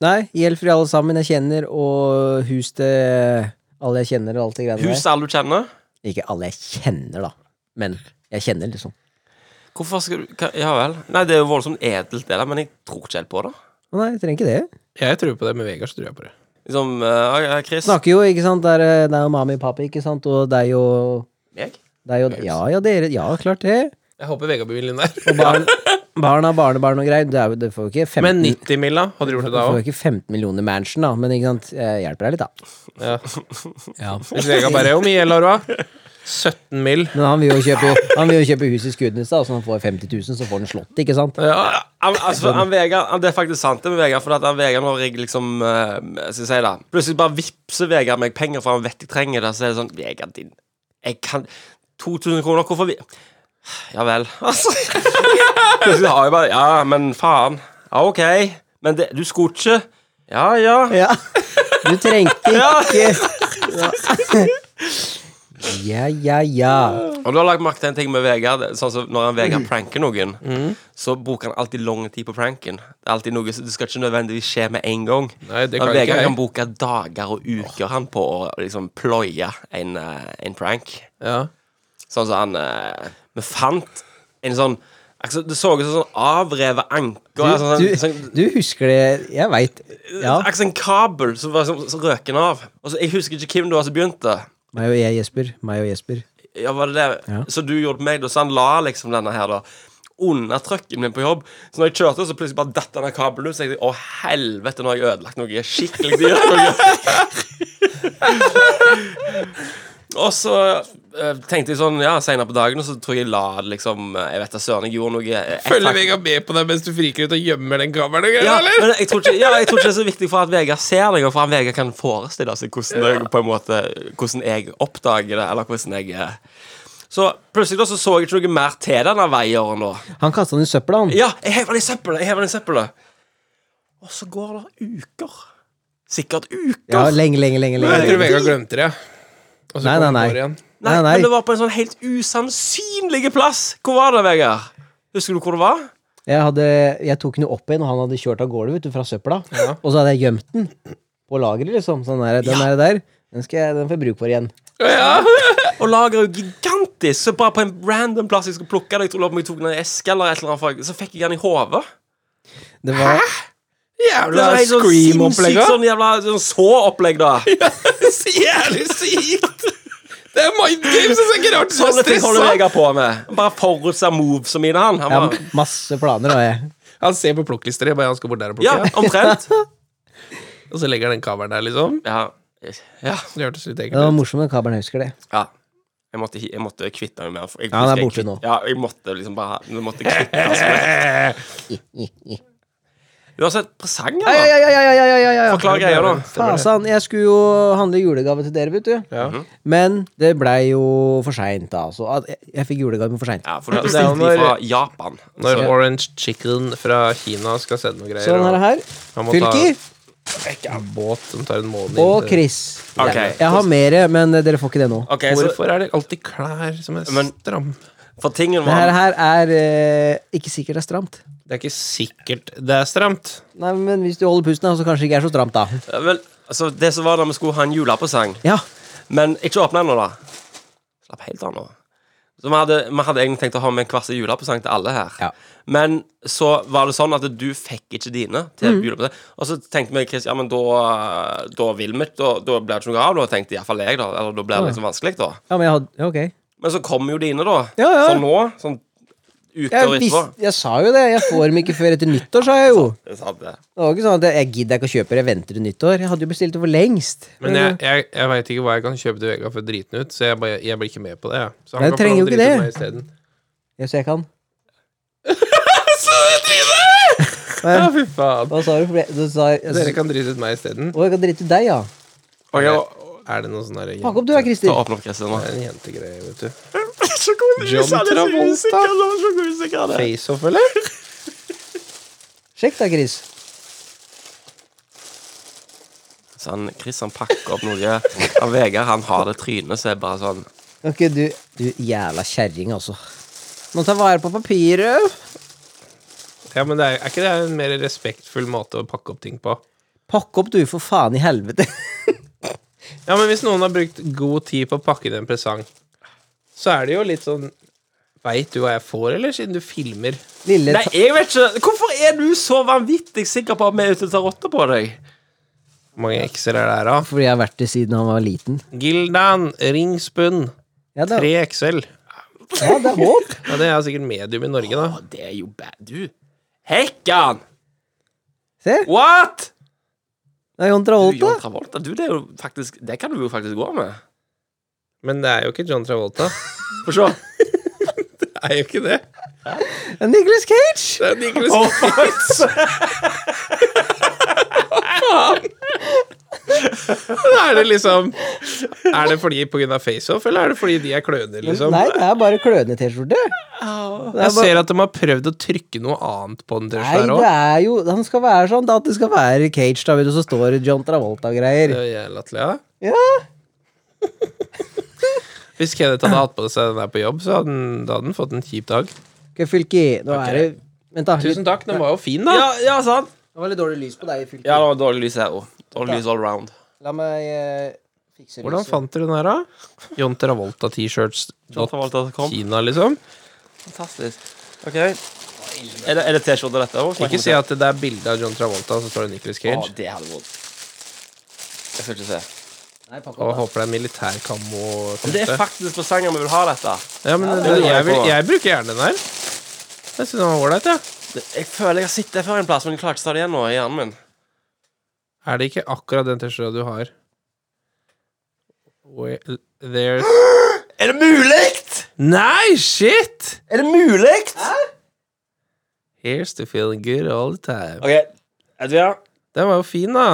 [SPEAKER 5] Nei, gjeldfrie alle sammen jeg kjenner, og hus til alle jeg kjenner, og alt det greiene der.
[SPEAKER 4] Huset alle du kjenner?
[SPEAKER 5] Ikke alle jeg kjenner, da, men jeg kjenner, liksom.
[SPEAKER 4] Hvorfor skal du hva- Ja vel. Nei, det er jo voldsomt edelt, det der, men jeg tror ikke helt på det.
[SPEAKER 5] Å Nei, jeg trenger ikke det.
[SPEAKER 3] Jeg tror på det, med Vegard så tror jeg på det.
[SPEAKER 4] Liksom, eh, ja, Chris
[SPEAKER 5] Snakker jo, ikke sant, det er, eh, det er jo mami og papi, ikke sant, og det er jo
[SPEAKER 4] Meg?
[SPEAKER 5] det er jo, ja, ja, dere, ja, klart det.
[SPEAKER 3] Jeg håper Vegard blir millionær.
[SPEAKER 5] Og barn, barna, barnebarn og greier. Det, er jo, det får jo ikke 15
[SPEAKER 3] Men 90 mil, da? Hadde du gjort
[SPEAKER 5] Du
[SPEAKER 3] det da
[SPEAKER 5] får
[SPEAKER 3] òg?
[SPEAKER 5] jo ikke 15 millioner mansion, da, men ikke sant, jeg hjelper deg litt, da.
[SPEAKER 3] Ja. Hvis Vegard bare Hvor mye gjeld har du, da? 17 mil.
[SPEAKER 5] Men han vil jo kjøpe, han vil jo kjøpe hus i Skudenesstad, så han får 50 000, så får han slottet, ikke sant?
[SPEAKER 3] Ja.
[SPEAKER 4] Han, altså, han Vegard, han, det er faktisk sant, det med Vegard. For at han Vegard når jeg liksom eh, skal jeg si det, Plutselig bare vippser Vegard meg penger, for han vet jeg trenger det. Så er det sånn Vegard, din Jeg kan 2000 kroner, hvorfor vi Ja vel. Altså. Plutselig har jeg bare Ja, men faen. Ja, OK. Men det, du skulle ikke Ja, ja.
[SPEAKER 5] Ja. Du trengte
[SPEAKER 4] Ja.
[SPEAKER 5] ikke Ja, ja, ja.
[SPEAKER 4] Og du har lagt merke til en ting med Vegard. Sånn som Når han Vegard
[SPEAKER 5] Mm.
[SPEAKER 4] pranker noen, så bruker han alltid lang tid på pranken. Det er alltid noe som- Det skal ikke nødvendigvis skje med en gang.
[SPEAKER 3] Nei,
[SPEAKER 4] Men
[SPEAKER 3] det kan ikke
[SPEAKER 4] Vegard
[SPEAKER 3] jeg.
[SPEAKER 4] kan bruke dager og uker han på å liksom ploie en, eh, en prank.
[SPEAKER 3] Ja.
[SPEAKER 4] Sånn som han eh, Vi fant en sånn altså, Det så ut som sånn avrevet anker. sånn,
[SPEAKER 5] Du,
[SPEAKER 4] sånn,
[SPEAKER 5] du husker det Jeg veit. Ja.
[SPEAKER 4] Akkurat som en kabel som var sånn- så røken av. Og så, Jeg husker ikke hvem det var som begynte.
[SPEAKER 5] Meg og jeg, Jesper. Meg og Jesper.
[SPEAKER 4] Ja, var det det?
[SPEAKER 5] Ja.
[SPEAKER 4] Så du gjorde på meg, da. Så han la liksom denne her, da. under trucken min på jobb. Så når jeg kjørte, så plutselig bare datt den av kabelen ut. Så tenkte jeg å helvete, nå har jeg ødelagt noe skikkelig dyrt. og så eh, tenkte jeg sånn, ja, senere på dagen, og så tror jeg jeg la det liksom eh, Jeg vet da søren, jeg gjorde noe eh,
[SPEAKER 3] Følger
[SPEAKER 4] et-
[SPEAKER 3] Vegard med på deg mens du friker ut og gjemmer den kabelen? og greier,
[SPEAKER 4] ja,
[SPEAKER 3] eller?
[SPEAKER 4] men jeg tror, ikke, ja, jeg tror ikke det er så viktig for at Vegard ser deg, og for at Vegard kan forestille seg hvordan, det, på en måte, hvordan jeg oppdager det, eller hvordan jeg eh. Så plutselig da så, så jeg ikke noe mer til denne veieren da.
[SPEAKER 5] Han kasta den i søpla, han.
[SPEAKER 4] Ja, jeg hever den i søppelet, jeg hever den i søppelet. Og så går det uker. Sikkert uker.
[SPEAKER 5] Ja, lenge, lenge, lenge. lenge.
[SPEAKER 2] Jeg tror Vegard glemte det. Og så
[SPEAKER 5] Nei,
[SPEAKER 2] kom
[SPEAKER 5] nei,
[SPEAKER 2] det
[SPEAKER 5] nei.
[SPEAKER 2] bare igjen.
[SPEAKER 4] Nei,
[SPEAKER 5] Nei, nei.
[SPEAKER 4] men det var på en sånn helt usannsynlig plass. Hvor var det, Vegard? Husker du hvor det var?
[SPEAKER 5] Jeg, hadde, jeg tok den jo opp igjen, og han hadde kjørt av gårde vet du, fra søpla. Og så hadde jeg gjemt den på lageret, liksom. Sånn der, den der, der. Den, skal jeg, den får jeg bruk for igjen.
[SPEAKER 4] Og lageret er jo gigantisk, så bare på en random plass jeg skulle plukke det, jeg tror jeg tok den i en eske eller et eller annet, fag, så fikk jeg den i hodet.
[SPEAKER 5] Det var,
[SPEAKER 4] Det
[SPEAKER 3] Jævla
[SPEAKER 4] var helt sånn
[SPEAKER 3] Scream-opplegg,
[SPEAKER 4] sinnssykt sånn jævla sånn så-opplegg, da.
[SPEAKER 3] Så jævlig sykt! Det er mind games, det er ikke rart du er
[SPEAKER 4] Sånne ting holder
[SPEAKER 3] stressa!
[SPEAKER 4] Vegard på med. Han bare forutser moves og mine, han. han
[SPEAKER 5] jeg
[SPEAKER 4] bare,
[SPEAKER 5] har masse planer, har jeg.
[SPEAKER 3] Han ser på plukklisteret, bare han skal bort der og
[SPEAKER 4] ja,
[SPEAKER 3] plukke,
[SPEAKER 4] omtrent.
[SPEAKER 3] og så legger han den kabelen der, liksom.
[SPEAKER 4] Ja. ja.
[SPEAKER 3] Det hørtes litt
[SPEAKER 5] Det var
[SPEAKER 3] ekkelt ut.
[SPEAKER 5] morsomt med kabelen, jeg husker det.
[SPEAKER 4] ja. Jeg måtte, jeg måtte kvitte meg med han. Jeg-
[SPEAKER 5] Ja, han er
[SPEAKER 4] jeg-
[SPEAKER 5] borte nå.
[SPEAKER 4] Ja, jeg måtte liksom bare jeg måtte kvitte meg med Uansett, presanger,
[SPEAKER 5] Ja,
[SPEAKER 4] da.
[SPEAKER 5] ja, ja, ja, ja, ja, ja, ja.
[SPEAKER 4] Forklar greia, da.
[SPEAKER 5] Fasan, jeg skulle jo handle julegave til dere, vet du. Men det blei jo for seint, da. Altså. At Jeg, jeg fikk julegaven for seint.
[SPEAKER 4] Ja, for du
[SPEAKER 3] det er
[SPEAKER 4] bestilte
[SPEAKER 3] jo
[SPEAKER 4] de
[SPEAKER 3] når-
[SPEAKER 4] fra Japan.
[SPEAKER 3] Når Orange Chicken fra Kina skal sende noe greier.
[SPEAKER 5] Sånn er det her.
[SPEAKER 3] Han må eh,
[SPEAKER 5] Fylker
[SPEAKER 3] ta en båt som tar en måned
[SPEAKER 5] og
[SPEAKER 3] inn. til-
[SPEAKER 5] Chris.
[SPEAKER 4] Ok.
[SPEAKER 5] Jeg, jeg har mere, men eh, dere får ikke det nå.
[SPEAKER 4] Ok, så
[SPEAKER 3] Hvorfor er det alltid klær som er
[SPEAKER 4] Men-
[SPEAKER 3] stramme?
[SPEAKER 4] For tingen
[SPEAKER 5] Det her,
[SPEAKER 4] var
[SPEAKER 5] her er eh, ikke sikkert det er stramt.
[SPEAKER 3] Det er ikke sikkert det er stramt.
[SPEAKER 5] Nei, men hvis du holder pusten, da, så kanskje det ikke er så stramt, da.
[SPEAKER 4] Ja, Vel, altså, det som var da vi skulle ha en julepresang
[SPEAKER 5] Ja,
[SPEAKER 4] Men ikke åpne den nå, da. Slapp helt av nå. Så vi hadde, vi hadde egentlig tenkt å ha med en kvart julepresang til alle her.
[SPEAKER 5] Ja.
[SPEAKER 4] Men så var det sånn at du fikk ikke dine til
[SPEAKER 5] Mm.
[SPEAKER 4] julepresang. Og så tenkte vi Chris, ja, men da, da vil vi da, da blir det ikke noe av. Da tenkte iallfall jeg, da. Eller da blir det liksom vanskelig, da.
[SPEAKER 5] ja men jeg hadde ja, Ok.
[SPEAKER 4] Men så kom jo dine, da.
[SPEAKER 5] Ja, ja.
[SPEAKER 4] For nå. Sånn uker
[SPEAKER 5] Jeg,
[SPEAKER 4] etterpå.
[SPEAKER 5] visste- jeg sa jo det. Jeg får dem ikke før etter nyttår, sa jeg jo.
[SPEAKER 4] Det sa det.
[SPEAKER 5] Det var ikke sånn at jeg- jeg gidder ikke å kjøpe det, jeg venter til nyttår. Jeg hadde jo bestilt det for lengst.
[SPEAKER 3] Men jeg, jeg, jeg veit ikke hva jeg kan kjøpe til Vegard for å drite den ut, så jeg, bare, jeg blir ikke med på det. jeg. Så
[SPEAKER 5] Nei,
[SPEAKER 3] kan
[SPEAKER 5] du trenger
[SPEAKER 3] få lov
[SPEAKER 5] jo
[SPEAKER 3] å drite
[SPEAKER 5] ikke
[SPEAKER 3] ut
[SPEAKER 5] det.
[SPEAKER 3] meg isteden.
[SPEAKER 5] Ja, så jeg kan.
[SPEAKER 3] Ja, fy faen.
[SPEAKER 5] Hva sa du? For det- Du sa jeg,
[SPEAKER 3] Dere
[SPEAKER 5] Å,
[SPEAKER 3] kan drite ut meg isteden.
[SPEAKER 5] jeg kan drite i deg, ja.
[SPEAKER 4] Og jeg,
[SPEAKER 3] Er det noe sånn derre
[SPEAKER 5] Pakk opp du da, Christer.
[SPEAKER 4] ta åpne opp Christer nå.
[SPEAKER 3] Det er en jentegreie, vet du.
[SPEAKER 4] John
[SPEAKER 3] Travolta.
[SPEAKER 4] Travolta.
[SPEAKER 3] Faceoff, eller?
[SPEAKER 5] Sjekk da, Chris.
[SPEAKER 4] Så han, Chris han pakker opp noe. Han Vegard han har det trynet som er bare sånn
[SPEAKER 5] Ok, du, du jævla kjerring, altså. Må ta vare på papiret.
[SPEAKER 3] Ja, men det er, er ikke det en mer respektfull måte å pakke opp ting på?
[SPEAKER 5] Pakk opp, du, for faen i helvete.
[SPEAKER 3] Ja, men hvis noen har brukt god tid på å pakke inn en presang, så er det jo litt sånn Veit du hva jeg får, eller? Siden du filmer.
[SPEAKER 5] Lille
[SPEAKER 4] Nei, jeg vet ikke. Hvorfor er du så vanvittig sikker på at vi er ute og tar rotta på deg?
[SPEAKER 3] Hvor mange ekser er det her, da?
[SPEAKER 5] Fordi jeg har vært det siden han var liten.
[SPEAKER 3] Gildan, Ringspun,
[SPEAKER 5] Ja, det,
[SPEAKER 3] 3XL.
[SPEAKER 5] ja, det er håp.
[SPEAKER 3] Ja, det er sikkert medium i Norge, da.
[SPEAKER 4] Å, det er jo bad, du. Hekkan!
[SPEAKER 5] Se,
[SPEAKER 4] What?!
[SPEAKER 5] det er John
[SPEAKER 4] Du,
[SPEAKER 5] Travolta.
[SPEAKER 4] John Travolta, du, det er jo faktisk Det kan du jo faktisk gå med.
[SPEAKER 3] Men det er jo ikke John Travolta.
[SPEAKER 4] Få se.
[SPEAKER 3] Det er jo ikke det.
[SPEAKER 5] Det er Nicolas Cage!
[SPEAKER 3] Det er Nicholas Er det liksom Er det fordi på grunn av faceoff, eller er det fordi de er kløner, liksom?
[SPEAKER 5] Nei, det er bare klønete T-skjorte. Det er
[SPEAKER 3] Jeg
[SPEAKER 5] bare-
[SPEAKER 3] ser at de har prøvd å trykke noe annet på den
[SPEAKER 5] Nei,
[SPEAKER 3] T-skjorta
[SPEAKER 5] det
[SPEAKER 3] òg.
[SPEAKER 5] er jo Han skal være sånn da, at det skal være Cage, da, vet du, så står det John Travolta og greier. Ja,
[SPEAKER 3] Hvis Kenneth hadde hatt på seg den der på jobb, så hadde han, da hadde han fått en kjip dag.
[SPEAKER 5] ok, Fylki, nå er det Vent, da. litt-
[SPEAKER 3] Tusen takk, den var jo fin, da.
[SPEAKER 4] Ja, ja, sant?
[SPEAKER 5] Det var litt dårlig lys på deg, Fylki.
[SPEAKER 4] Ja, det var dårlig lys her òg. Dårlig lys all round.
[SPEAKER 5] La meg eh, fikse
[SPEAKER 3] Hvordan
[SPEAKER 5] lyset.
[SPEAKER 3] fant dere den her, da? John Travolta T-shirts
[SPEAKER 4] John Travolta kom.
[SPEAKER 3] Kina, liksom?
[SPEAKER 4] Fantastisk. OK. Er det, er det T-skjorte, dette òg?
[SPEAKER 3] Ikke si at det er bilde av John Travolta, og så står det Nicholas
[SPEAKER 4] Å,
[SPEAKER 3] Cage.
[SPEAKER 4] det hadde vært Jeg skal ikke se.
[SPEAKER 5] Nei, pakk
[SPEAKER 3] Og
[SPEAKER 5] opp, da.
[SPEAKER 3] håper det er militærkammo.
[SPEAKER 4] Det er faktisk presanger vi vil ha, dette.
[SPEAKER 3] Ja, men
[SPEAKER 4] det
[SPEAKER 3] det,
[SPEAKER 4] lurer jeg
[SPEAKER 3] jeg, vil,
[SPEAKER 4] på.
[SPEAKER 3] jeg bruker gjerne den her. Jeg syns den var ålreit, jeg.
[SPEAKER 4] Jeg føler jeg har sett det før en plass, men jeg klarer ikke å ta det igjen nå i hjernen min.
[SPEAKER 3] Er det ikke akkurat den T-skjorta du har? Where, there's
[SPEAKER 4] Er det mulig?!
[SPEAKER 3] Nei, shit!
[SPEAKER 4] Er det mulig?!
[SPEAKER 3] Here's to feeling good all the time.
[SPEAKER 4] OK, vet du hva?
[SPEAKER 3] Den var jo fin, da.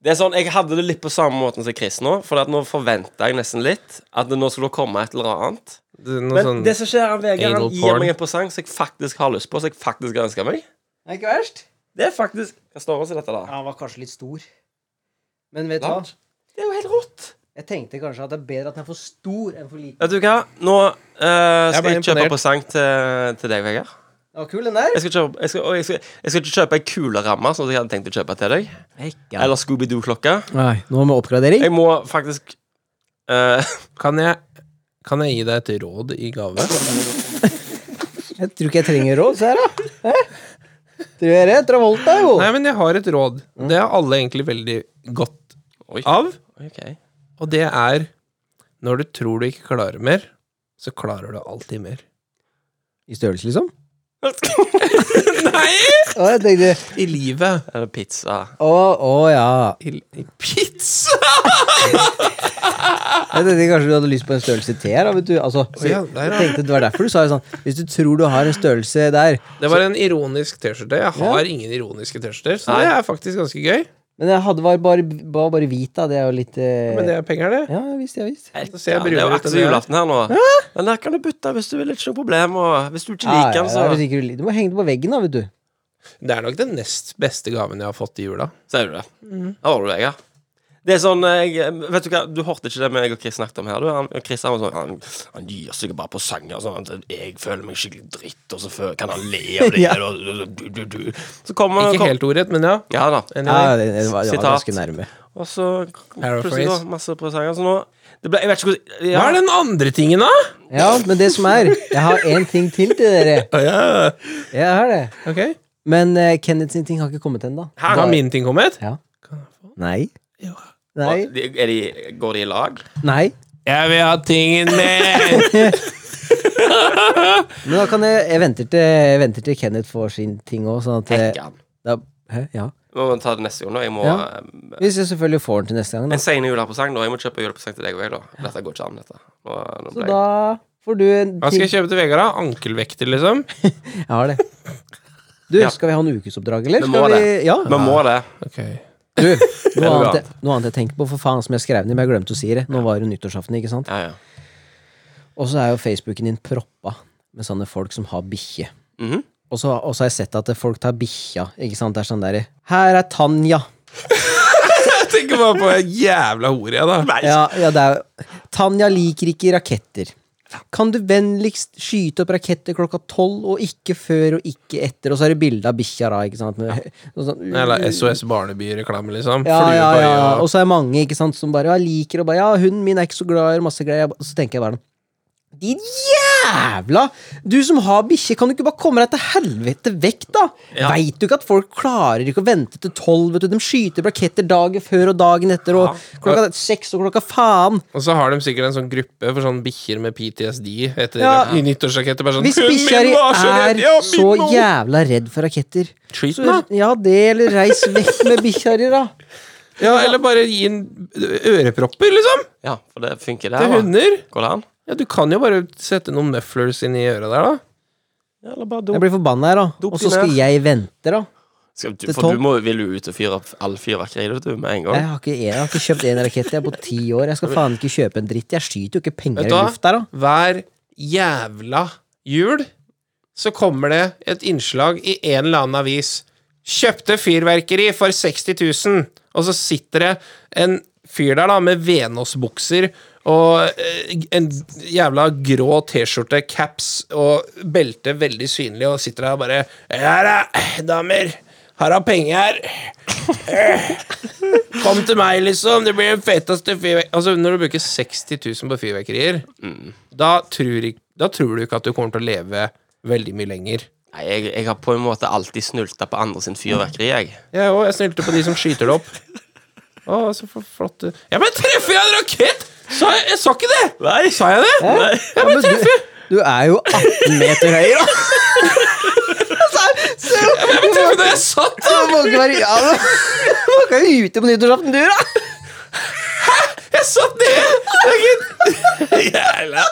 [SPEAKER 4] Det er sånn, Jeg hadde det litt på samme måten som Chris nå, for at nå forventa jeg nesten litt at det nå skulle komme et eller annet.
[SPEAKER 3] Det er Noe
[SPEAKER 4] Men
[SPEAKER 3] sånn
[SPEAKER 4] det som skjer, han Vegard han
[SPEAKER 3] anal
[SPEAKER 4] gir
[SPEAKER 3] porn.
[SPEAKER 4] meg en presang som jeg faktisk har lyst på, som jeg faktisk ønsker meg.
[SPEAKER 5] Det er ikke verst.
[SPEAKER 4] Det er faktisk Hva står det i dette,
[SPEAKER 5] Ja,
[SPEAKER 4] da?
[SPEAKER 5] han var kanskje litt stor. Men vet du hva?
[SPEAKER 4] Large. Det er jo helt rått.
[SPEAKER 5] Jeg tenkte kanskje at det er bedre at den er for stor enn for liten.
[SPEAKER 4] Vet du hva? Nå eh,
[SPEAKER 3] Jeg ble
[SPEAKER 4] skal jeg kjøpe
[SPEAKER 3] imponert.
[SPEAKER 4] presang til, til deg, Vegard.
[SPEAKER 5] Det var kul, den der.
[SPEAKER 4] Jeg skal, kjøpe, jeg, skal, og jeg, skal, jeg skal ikke kjøpe ei kuleramme, sånn som jeg hadde tenkt å kjøpe til deg. Eller Scooby-Doo-klokke.
[SPEAKER 5] Nei, nå med oppgradering.
[SPEAKER 4] Jeg må faktisk eh,
[SPEAKER 3] Kan jeg, kan jeg gi deg et råd i gave?
[SPEAKER 5] Jeg tror ikke jeg trenger råd, se her, da. Hæ? Tror jeg det? Travolta, jo.
[SPEAKER 3] Nei, men jeg har et råd. Det er alle egentlig veldig godt
[SPEAKER 4] Oi.
[SPEAKER 3] av.
[SPEAKER 4] OK.
[SPEAKER 3] Og det er når du tror du ikke klarer mer, så klarer du alltid mer.
[SPEAKER 5] I størrelse, liksom?
[SPEAKER 3] Nei!
[SPEAKER 5] Å, jeg tenkte
[SPEAKER 3] I livet.
[SPEAKER 4] Eller pizza.
[SPEAKER 5] Å, å ja.
[SPEAKER 3] I, i pizza!
[SPEAKER 5] Jeg tenkte kanskje du hadde lyst på en størrelse T her, da, vet du. Altså,
[SPEAKER 3] Å, ja, der,
[SPEAKER 5] jeg tenkte det var derfor du sa det sånn. Hvis du tror du har en størrelse der
[SPEAKER 3] Det var en ironisk T-skjorte. Jeg har ingen ironiske T-skjorter, så det er faktisk ganske gøy.
[SPEAKER 5] Men jeg hadde var bare, var bare hvit, da. Det er jo litt eh,
[SPEAKER 3] Men det er penger, det.
[SPEAKER 5] Ja, visst, ja, visst.
[SPEAKER 3] Så ser jeg
[SPEAKER 4] Ja, det er jo
[SPEAKER 3] brunere ut
[SPEAKER 4] akkurat
[SPEAKER 3] enn jeg er.
[SPEAKER 4] julaften her nå. Den der kan du bytte hvis du vil. Ikke noe problem. Og hvis du ikke
[SPEAKER 5] Ja,
[SPEAKER 4] liker
[SPEAKER 5] ja,
[SPEAKER 4] den,
[SPEAKER 3] altså.
[SPEAKER 5] ja, hvis
[SPEAKER 4] så
[SPEAKER 5] ikke du, lik- du må henge det på veggen, da, vet du.
[SPEAKER 3] Det er nok den nest beste gaven jeg har fått i jula.
[SPEAKER 4] sier du det.
[SPEAKER 3] Mm.
[SPEAKER 4] Da var du deg, ja. Det er sånn, jeg, vet Du hva, du hørte ikke det meg og Chris snakket om her? du han, Chris han var sånn Han, han gir seg bare på sanger. Sånn, at jeg føler meg skikkelig dritt, og så fø- kan han le av det.
[SPEAKER 5] Ja.
[SPEAKER 4] eller, du, du, du. Så kommer
[SPEAKER 3] Ikke
[SPEAKER 4] kom,
[SPEAKER 3] helt ordrett, men ja.
[SPEAKER 4] Ja da.
[SPEAKER 5] Ja,
[SPEAKER 3] Anyway.
[SPEAKER 5] det, det var, det var
[SPEAKER 4] Sitat.
[SPEAKER 5] ganske nærme.
[SPEAKER 4] Og så plutselig
[SPEAKER 3] Paraphrase.
[SPEAKER 4] da, masse presanger. Så nå det ble, Jeg vet ikke hvordan ja.
[SPEAKER 3] Hva er den andre tingen, da?
[SPEAKER 5] Ja, men det som er Jeg har én ting til til dere. Jeg har det.
[SPEAKER 3] Ok,
[SPEAKER 5] Men eh, Kenneth sin ting har ikke kommet ennå.
[SPEAKER 3] Da har min ting kommet.
[SPEAKER 5] Ja. Nei. Nei.
[SPEAKER 4] De- Er de, går de i lag?
[SPEAKER 5] Nei.
[SPEAKER 3] Jeg vil ha tingen min!
[SPEAKER 5] Men da kan jeg Jeg venter til, jeg venter til Kenneth får sin ting òg, sånn at eh,
[SPEAKER 4] Hekkan.
[SPEAKER 5] da, Hæ? Ja.
[SPEAKER 4] Må vi ta det neste gang, da. Jeg må
[SPEAKER 5] Ja.
[SPEAKER 4] eh,
[SPEAKER 5] Hvis jeg selvfølgelig får den til neste gang, da.
[SPEAKER 4] En sene julepresang, da. Jeg må kjøpe julepresang til deg òg, da. Dette går ikke an, dette. Nå, nå
[SPEAKER 5] Så
[SPEAKER 4] ble
[SPEAKER 5] da
[SPEAKER 4] jeg.
[SPEAKER 5] får du en
[SPEAKER 3] Hva skal
[SPEAKER 5] ting.
[SPEAKER 3] jeg kjøpe til Vegard? da? Ankelvekter, liksom?
[SPEAKER 5] Jeg har det. Du,
[SPEAKER 4] Ja.
[SPEAKER 5] skal vi ha en ukesoppdrag, eller?
[SPEAKER 4] Vi
[SPEAKER 5] Skal
[SPEAKER 4] må
[SPEAKER 5] vi
[SPEAKER 4] det.
[SPEAKER 5] Ja.
[SPEAKER 4] Vi må det.
[SPEAKER 3] Ok
[SPEAKER 5] Du, noe
[SPEAKER 4] noe
[SPEAKER 5] annet, noe annet jeg tenker på, for faen som jeg skrev ned, men jeg glemte å si det. Nå var det nyttårsaften, ikke sant?
[SPEAKER 4] Ja, ja.
[SPEAKER 5] Og så er jo Facebooken din proppa med sånne folk som har bikkje.
[SPEAKER 4] Mhm.
[SPEAKER 5] Og så og så har jeg sett at folk tar bikkja, ikke sant. Det er sånn derre Her er Tanja.
[SPEAKER 3] Jeg tenker bare på en jævla hore, jeg, da.
[SPEAKER 5] Ja, ja, det er jo Tanja liker ikke raketter. Kan du vennligst skyte opp raketter klokka tolv, og ikke før og ikke etter? Og så er det bilde av bikkja, da, ikke sant? Med, og sånn-
[SPEAKER 3] Eller SOS Barneby-reklame, liksom.
[SPEAKER 5] Ja,
[SPEAKER 3] Flue
[SPEAKER 5] ja,
[SPEAKER 3] på
[SPEAKER 5] ja.
[SPEAKER 3] øya.
[SPEAKER 5] Og så er det mange ikke sant, som bare ja, liker og bare Ja, hunden min er ikke så glad i masse greier. Jeg ba- Så tenker jeg bare Din jævla Du som har bikkje, kan du ikke bare komme deg til helvete vekk, da? Veit du ikke at folk klarer ikke å vente til tolv? vet du? De skyter plaketter dagen før og dagen etter, og klokka seks og klokka faen.
[SPEAKER 3] Og så har de sikkert en sånn gruppe for sånn bikkjer med PTSD etter
[SPEAKER 5] Ja.
[SPEAKER 3] i nyttårsraketter. Bare sånn
[SPEAKER 5] Hvis
[SPEAKER 3] «Hunden
[SPEAKER 5] bikkja di
[SPEAKER 3] min var så redd,
[SPEAKER 5] er
[SPEAKER 3] ja, min
[SPEAKER 5] så
[SPEAKER 3] nå!»
[SPEAKER 5] jævla redd for raketter
[SPEAKER 3] Treat
[SPEAKER 5] så, Ja, det, eller reis vekk med bikkja di, da.
[SPEAKER 3] Ja, eller bare gi en ørepropper, liksom.
[SPEAKER 4] ja, for det funker, det.
[SPEAKER 3] Til
[SPEAKER 4] her, da.
[SPEAKER 3] hunder.
[SPEAKER 4] Går det an?
[SPEAKER 3] Ja, du kan jo bare sette noen mufflers inn i øret der, da.
[SPEAKER 4] Ja, eller bare
[SPEAKER 5] Jeg
[SPEAKER 4] dop?
[SPEAKER 5] blir forbanna her, da.
[SPEAKER 4] Dop
[SPEAKER 5] Og så
[SPEAKER 4] i
[SPEAKER 5] skal
[SPEAKER 4] ned.
[SPEAKER 5] jeg vente, da.
[SPEAKER 4] Skal, du,
[SPEAKER 5] til
[SPEAKER 4] for
[SPEAKER 5] tolv.
[SPEAKER 4] du må, vil jo ut og fyre opp all fyrverkeri du, med en gang.
[SPEAKER 5] Jeg har ikke, jeg har ikke kjøpt én rakett jeg på ti år. Jeg skal faen ikke kjøpe en dritt. Jeg skyter jo ikke penger
[SPEAKER 3] Vet
[SPEAKER 5] i
[SPEAKER 3] du hva?
[SPEAKER 5] lufta, da.
[SPEAKER 3] Hver jævla jul så kommer det et innslag i en eller annen avis. Kjøpte fyrverkeri for 60 000, og så sitter det en fyr der da med Venås-bukser og eh, en jævla grå T-skjorte, caps og belte veldig synlig, og sitter der og bare Her er damer! Her er penger! Kom til meg, liksom! Det blir den feteste fyrverkeri... Altså, når du bruker 60 000 på fyrverkerier da tror, ik- da tror du ikke at du kommer til å leve veldig mye lenger.
[SPEAKER 4] Nei, jeg, jeg har på en måte alltid snulta på andre sin fyrverkeri, jeg.
[SPEAKER 3] Jeg òg. Jeg snilte på de som skyter det opp. Å, så for flott du- Ja, men treffer jeg en rakett?! Sa jeg, jeg sa ikke det! Sa jeg det?
[SPEAKER 5] Ja, men du, du er jo 18 meter høy, da!
[SPEAKER 3] Da jeg satt
[SPEAKER 5] Ja, Man kan ikke være ja, men- Man kan jo ute på nyttårsaften, du, da!
[SPEAKER 3] Jeg satt ned! Jeg- Jævla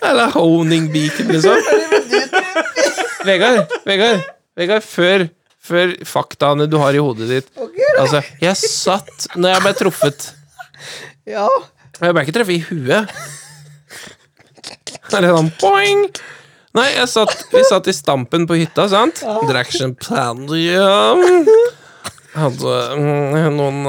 [SPEAKER 3] Jævla honingbeacon, liksom. Vegard, Vegard, Vegard før, før faktaene du har i hodet ditt Altså, jeg satt når jeg ble truffet.
[SPEAKER 5] Ja.
[SPEAKER 3] Jeg ble ikke truffet i huet. Det er litt sånn boing! Nei, jeg satt, vi satt i Stampen på hytta, sant? Drakk champagne. Hadde mm, noen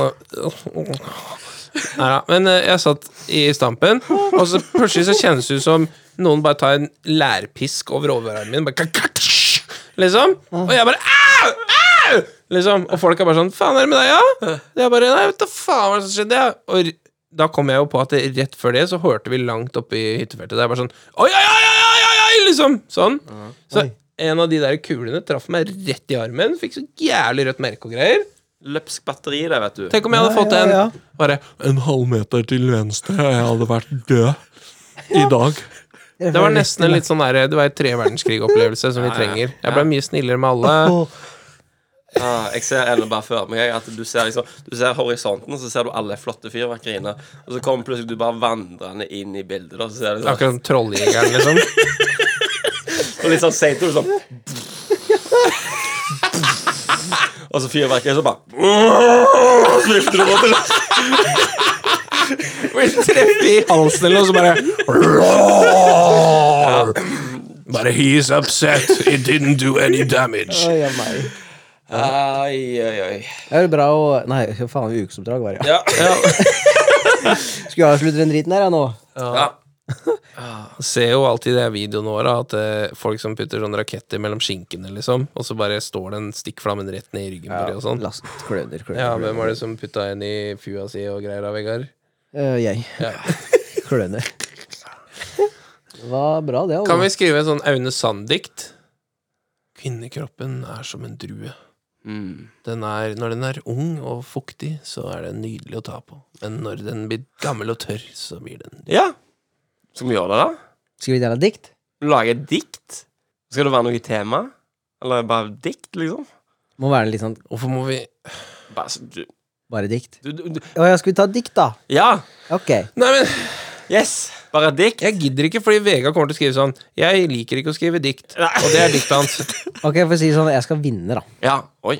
[SPEAKER 3] Nei da. Men eh, jeg satt i Stampen, og så plutselig så kjennes det ut som noen bare tar en lærpisk over overarmen min. Bare kakakasj, liksom. Og jeg bare au! Au! Liksom. Og folk er bare sånn Faen, er det med deg, ja? Jeg bare Nei, vet da faen hva er det som skjedde, jeg. Og r- da kom jeg jo på at det, rett før det så hørte vi langt oppe i hyttefeltet. Det er bare sånn Oi, oi, oi, oi, oi, oi, oi! Liksom. Sånn. Så en av de der kulene traff meg rett i armen. Fikk så jævlig rødt merke og greier.
[SPEAKER 4] Løpsk batteri, det, vet du.
[SPEAKER 3] Tenk om jeg hadde fått
[SPEAKER 5] ja, ja.
[SPEAKER 3] en bare en halv meter til venstre, og jeg hadde vært død i dag. Det var nesten en litt sånn der, det var en tre verdenskrig-opplevelse som vi trenger. Jeg ble mye snillere med alle.
[SPEAKER 4] Ah, jeg ser ennå bare før meg jeg, at du ser, liksom, du ser horisonten, og så ser du alle flotte fyrverkeriene. Og så kommer plutselig du bare vandrende inn i bildet. Da, så ser du sånn,
[SPEAKER 3] Akkurat som trolljegeren, liksom.
[SPEAKER 4] og litt sånn seint, og du sånn Og så fyrverkeriet, så bare
[SPEAKER 3] Treffe i halsen eller noe, så bare Bare he's upset. It didn't do any damage.
[SPEAKER 5] Oi, ja, meg.
[SPEAKER 4] Ai, ai, ai.
[SPEAKER 5] Det er jo bra å Nei, hva faen, ukesoppdrag var det. Ja.
[SPEAKER 4] Ja.
[SPEAKER 5] Skulle jeg avslutte den driten her, jeg, nå?
[SPEAKER 3] Ser jo alltid i de videoene våre at eh, folk som putter sånne raketter mellom skinkene, liksom, og så bare står den stikkflammen rett ned i ryggen på dem og sånn.
[SPEAKER 5] Last, kløner, kløner.
[SPEAKER 3] Ja, hvem var det som putta en i fua si og greier da, Vegard?
[SPEAKER 5] Eh, jeg. kløner. Det var bra, det. altså.
[SPEAKER 3] Kan vi skrive en sånn Aune Sand-dikt? Kvinnekroppen er som en drue.
[SPEAKER 4] Mm.
[SPEAKER 3] Den er, når den er ung og fuktig, så er den nydelig å ta på. Men når den blir gammel og tørr, så blir den
[SPEAKER 4] ja. Skal vi gjøre det, da?
[SPEAKER 5] Skal vi dele et dikt?
[SPEAKER 4] Lage et dikt? Skal det være noe i tema? Eller bare dikt, liksom?
[SPEAKER 5] Må være litt sånn
[SPEAKER 3] Hvorfor må vi
[SPEAKER 4] Bare, så- du,
[SPEAKER 5] bare dikt.
[SPEAKER 4] du, du, du.
[SPEAKER 5] Å ja, skal vi ta et dikt, da?
[SPEAKER 4] Ja!
[SPEAKER 5] Ok.
[SPEAKER 3] Nei, men
[SPEAKER 4] Yes! Bare et dikt.
[SPEAKER 3] jeg gidder ikke, fordi Vegard kommer til å skrive sånn Jeg liker ikke å skrive dikt, og det er diktet hans.
[SPEAKER 5] Ok, For å si det sånn, jeg skal vinne, da.
[SPEAKER 4] Ja. Oi.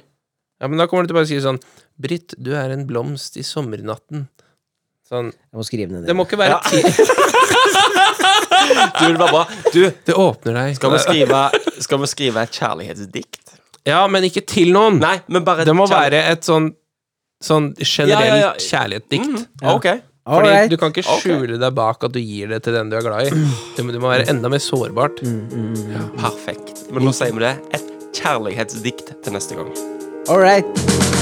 [SPEAKER 3] Ja, Men da kommer du til å bare skrive sånn Britt, du er en blomst i sommernatten. Sånn.
[SPEAKER 5] Jeg må skrive ned
[SPEAKER 3] Det må ikke være ti
[SPEAKER 4] Du, det var bra. Du,
[SPEAKER 3] Det åpner deg.
[SPEAKER 4] skal vi skrive, skal vi skrive et kjærlighetsdikt?
[SPEAKER 3] Ja, men ikke til noen.
[SPEAKER 4] Nei, men bare et
[SPEAKER 3] Det må
[SPEAKER 4] kjærligh-
[SPEAKER 3] være et sånn Sånn generelt
[SPEAKER 4] Ja, ja, ja.
[SPEAKER 3] kjærlighetsdikt.
[SPEAKER 4] Ja, OK.
[SPEAKER 5] All
[SPEAKER 3] Fordi
[SPEAKER 5] right.
[SPEAKER 3] du kan ikke skjule deg bak at du gir det til den du er glad i.
[SPEAKER 4] Mm.
[SPEAKER 3] Det må, det må være enda mer sårbart.
[SPEAKER 4] Perfekt. Men nå sier vi det. Et kjærlighetsdikt til neste gang.
[SPEAKER 5] All right.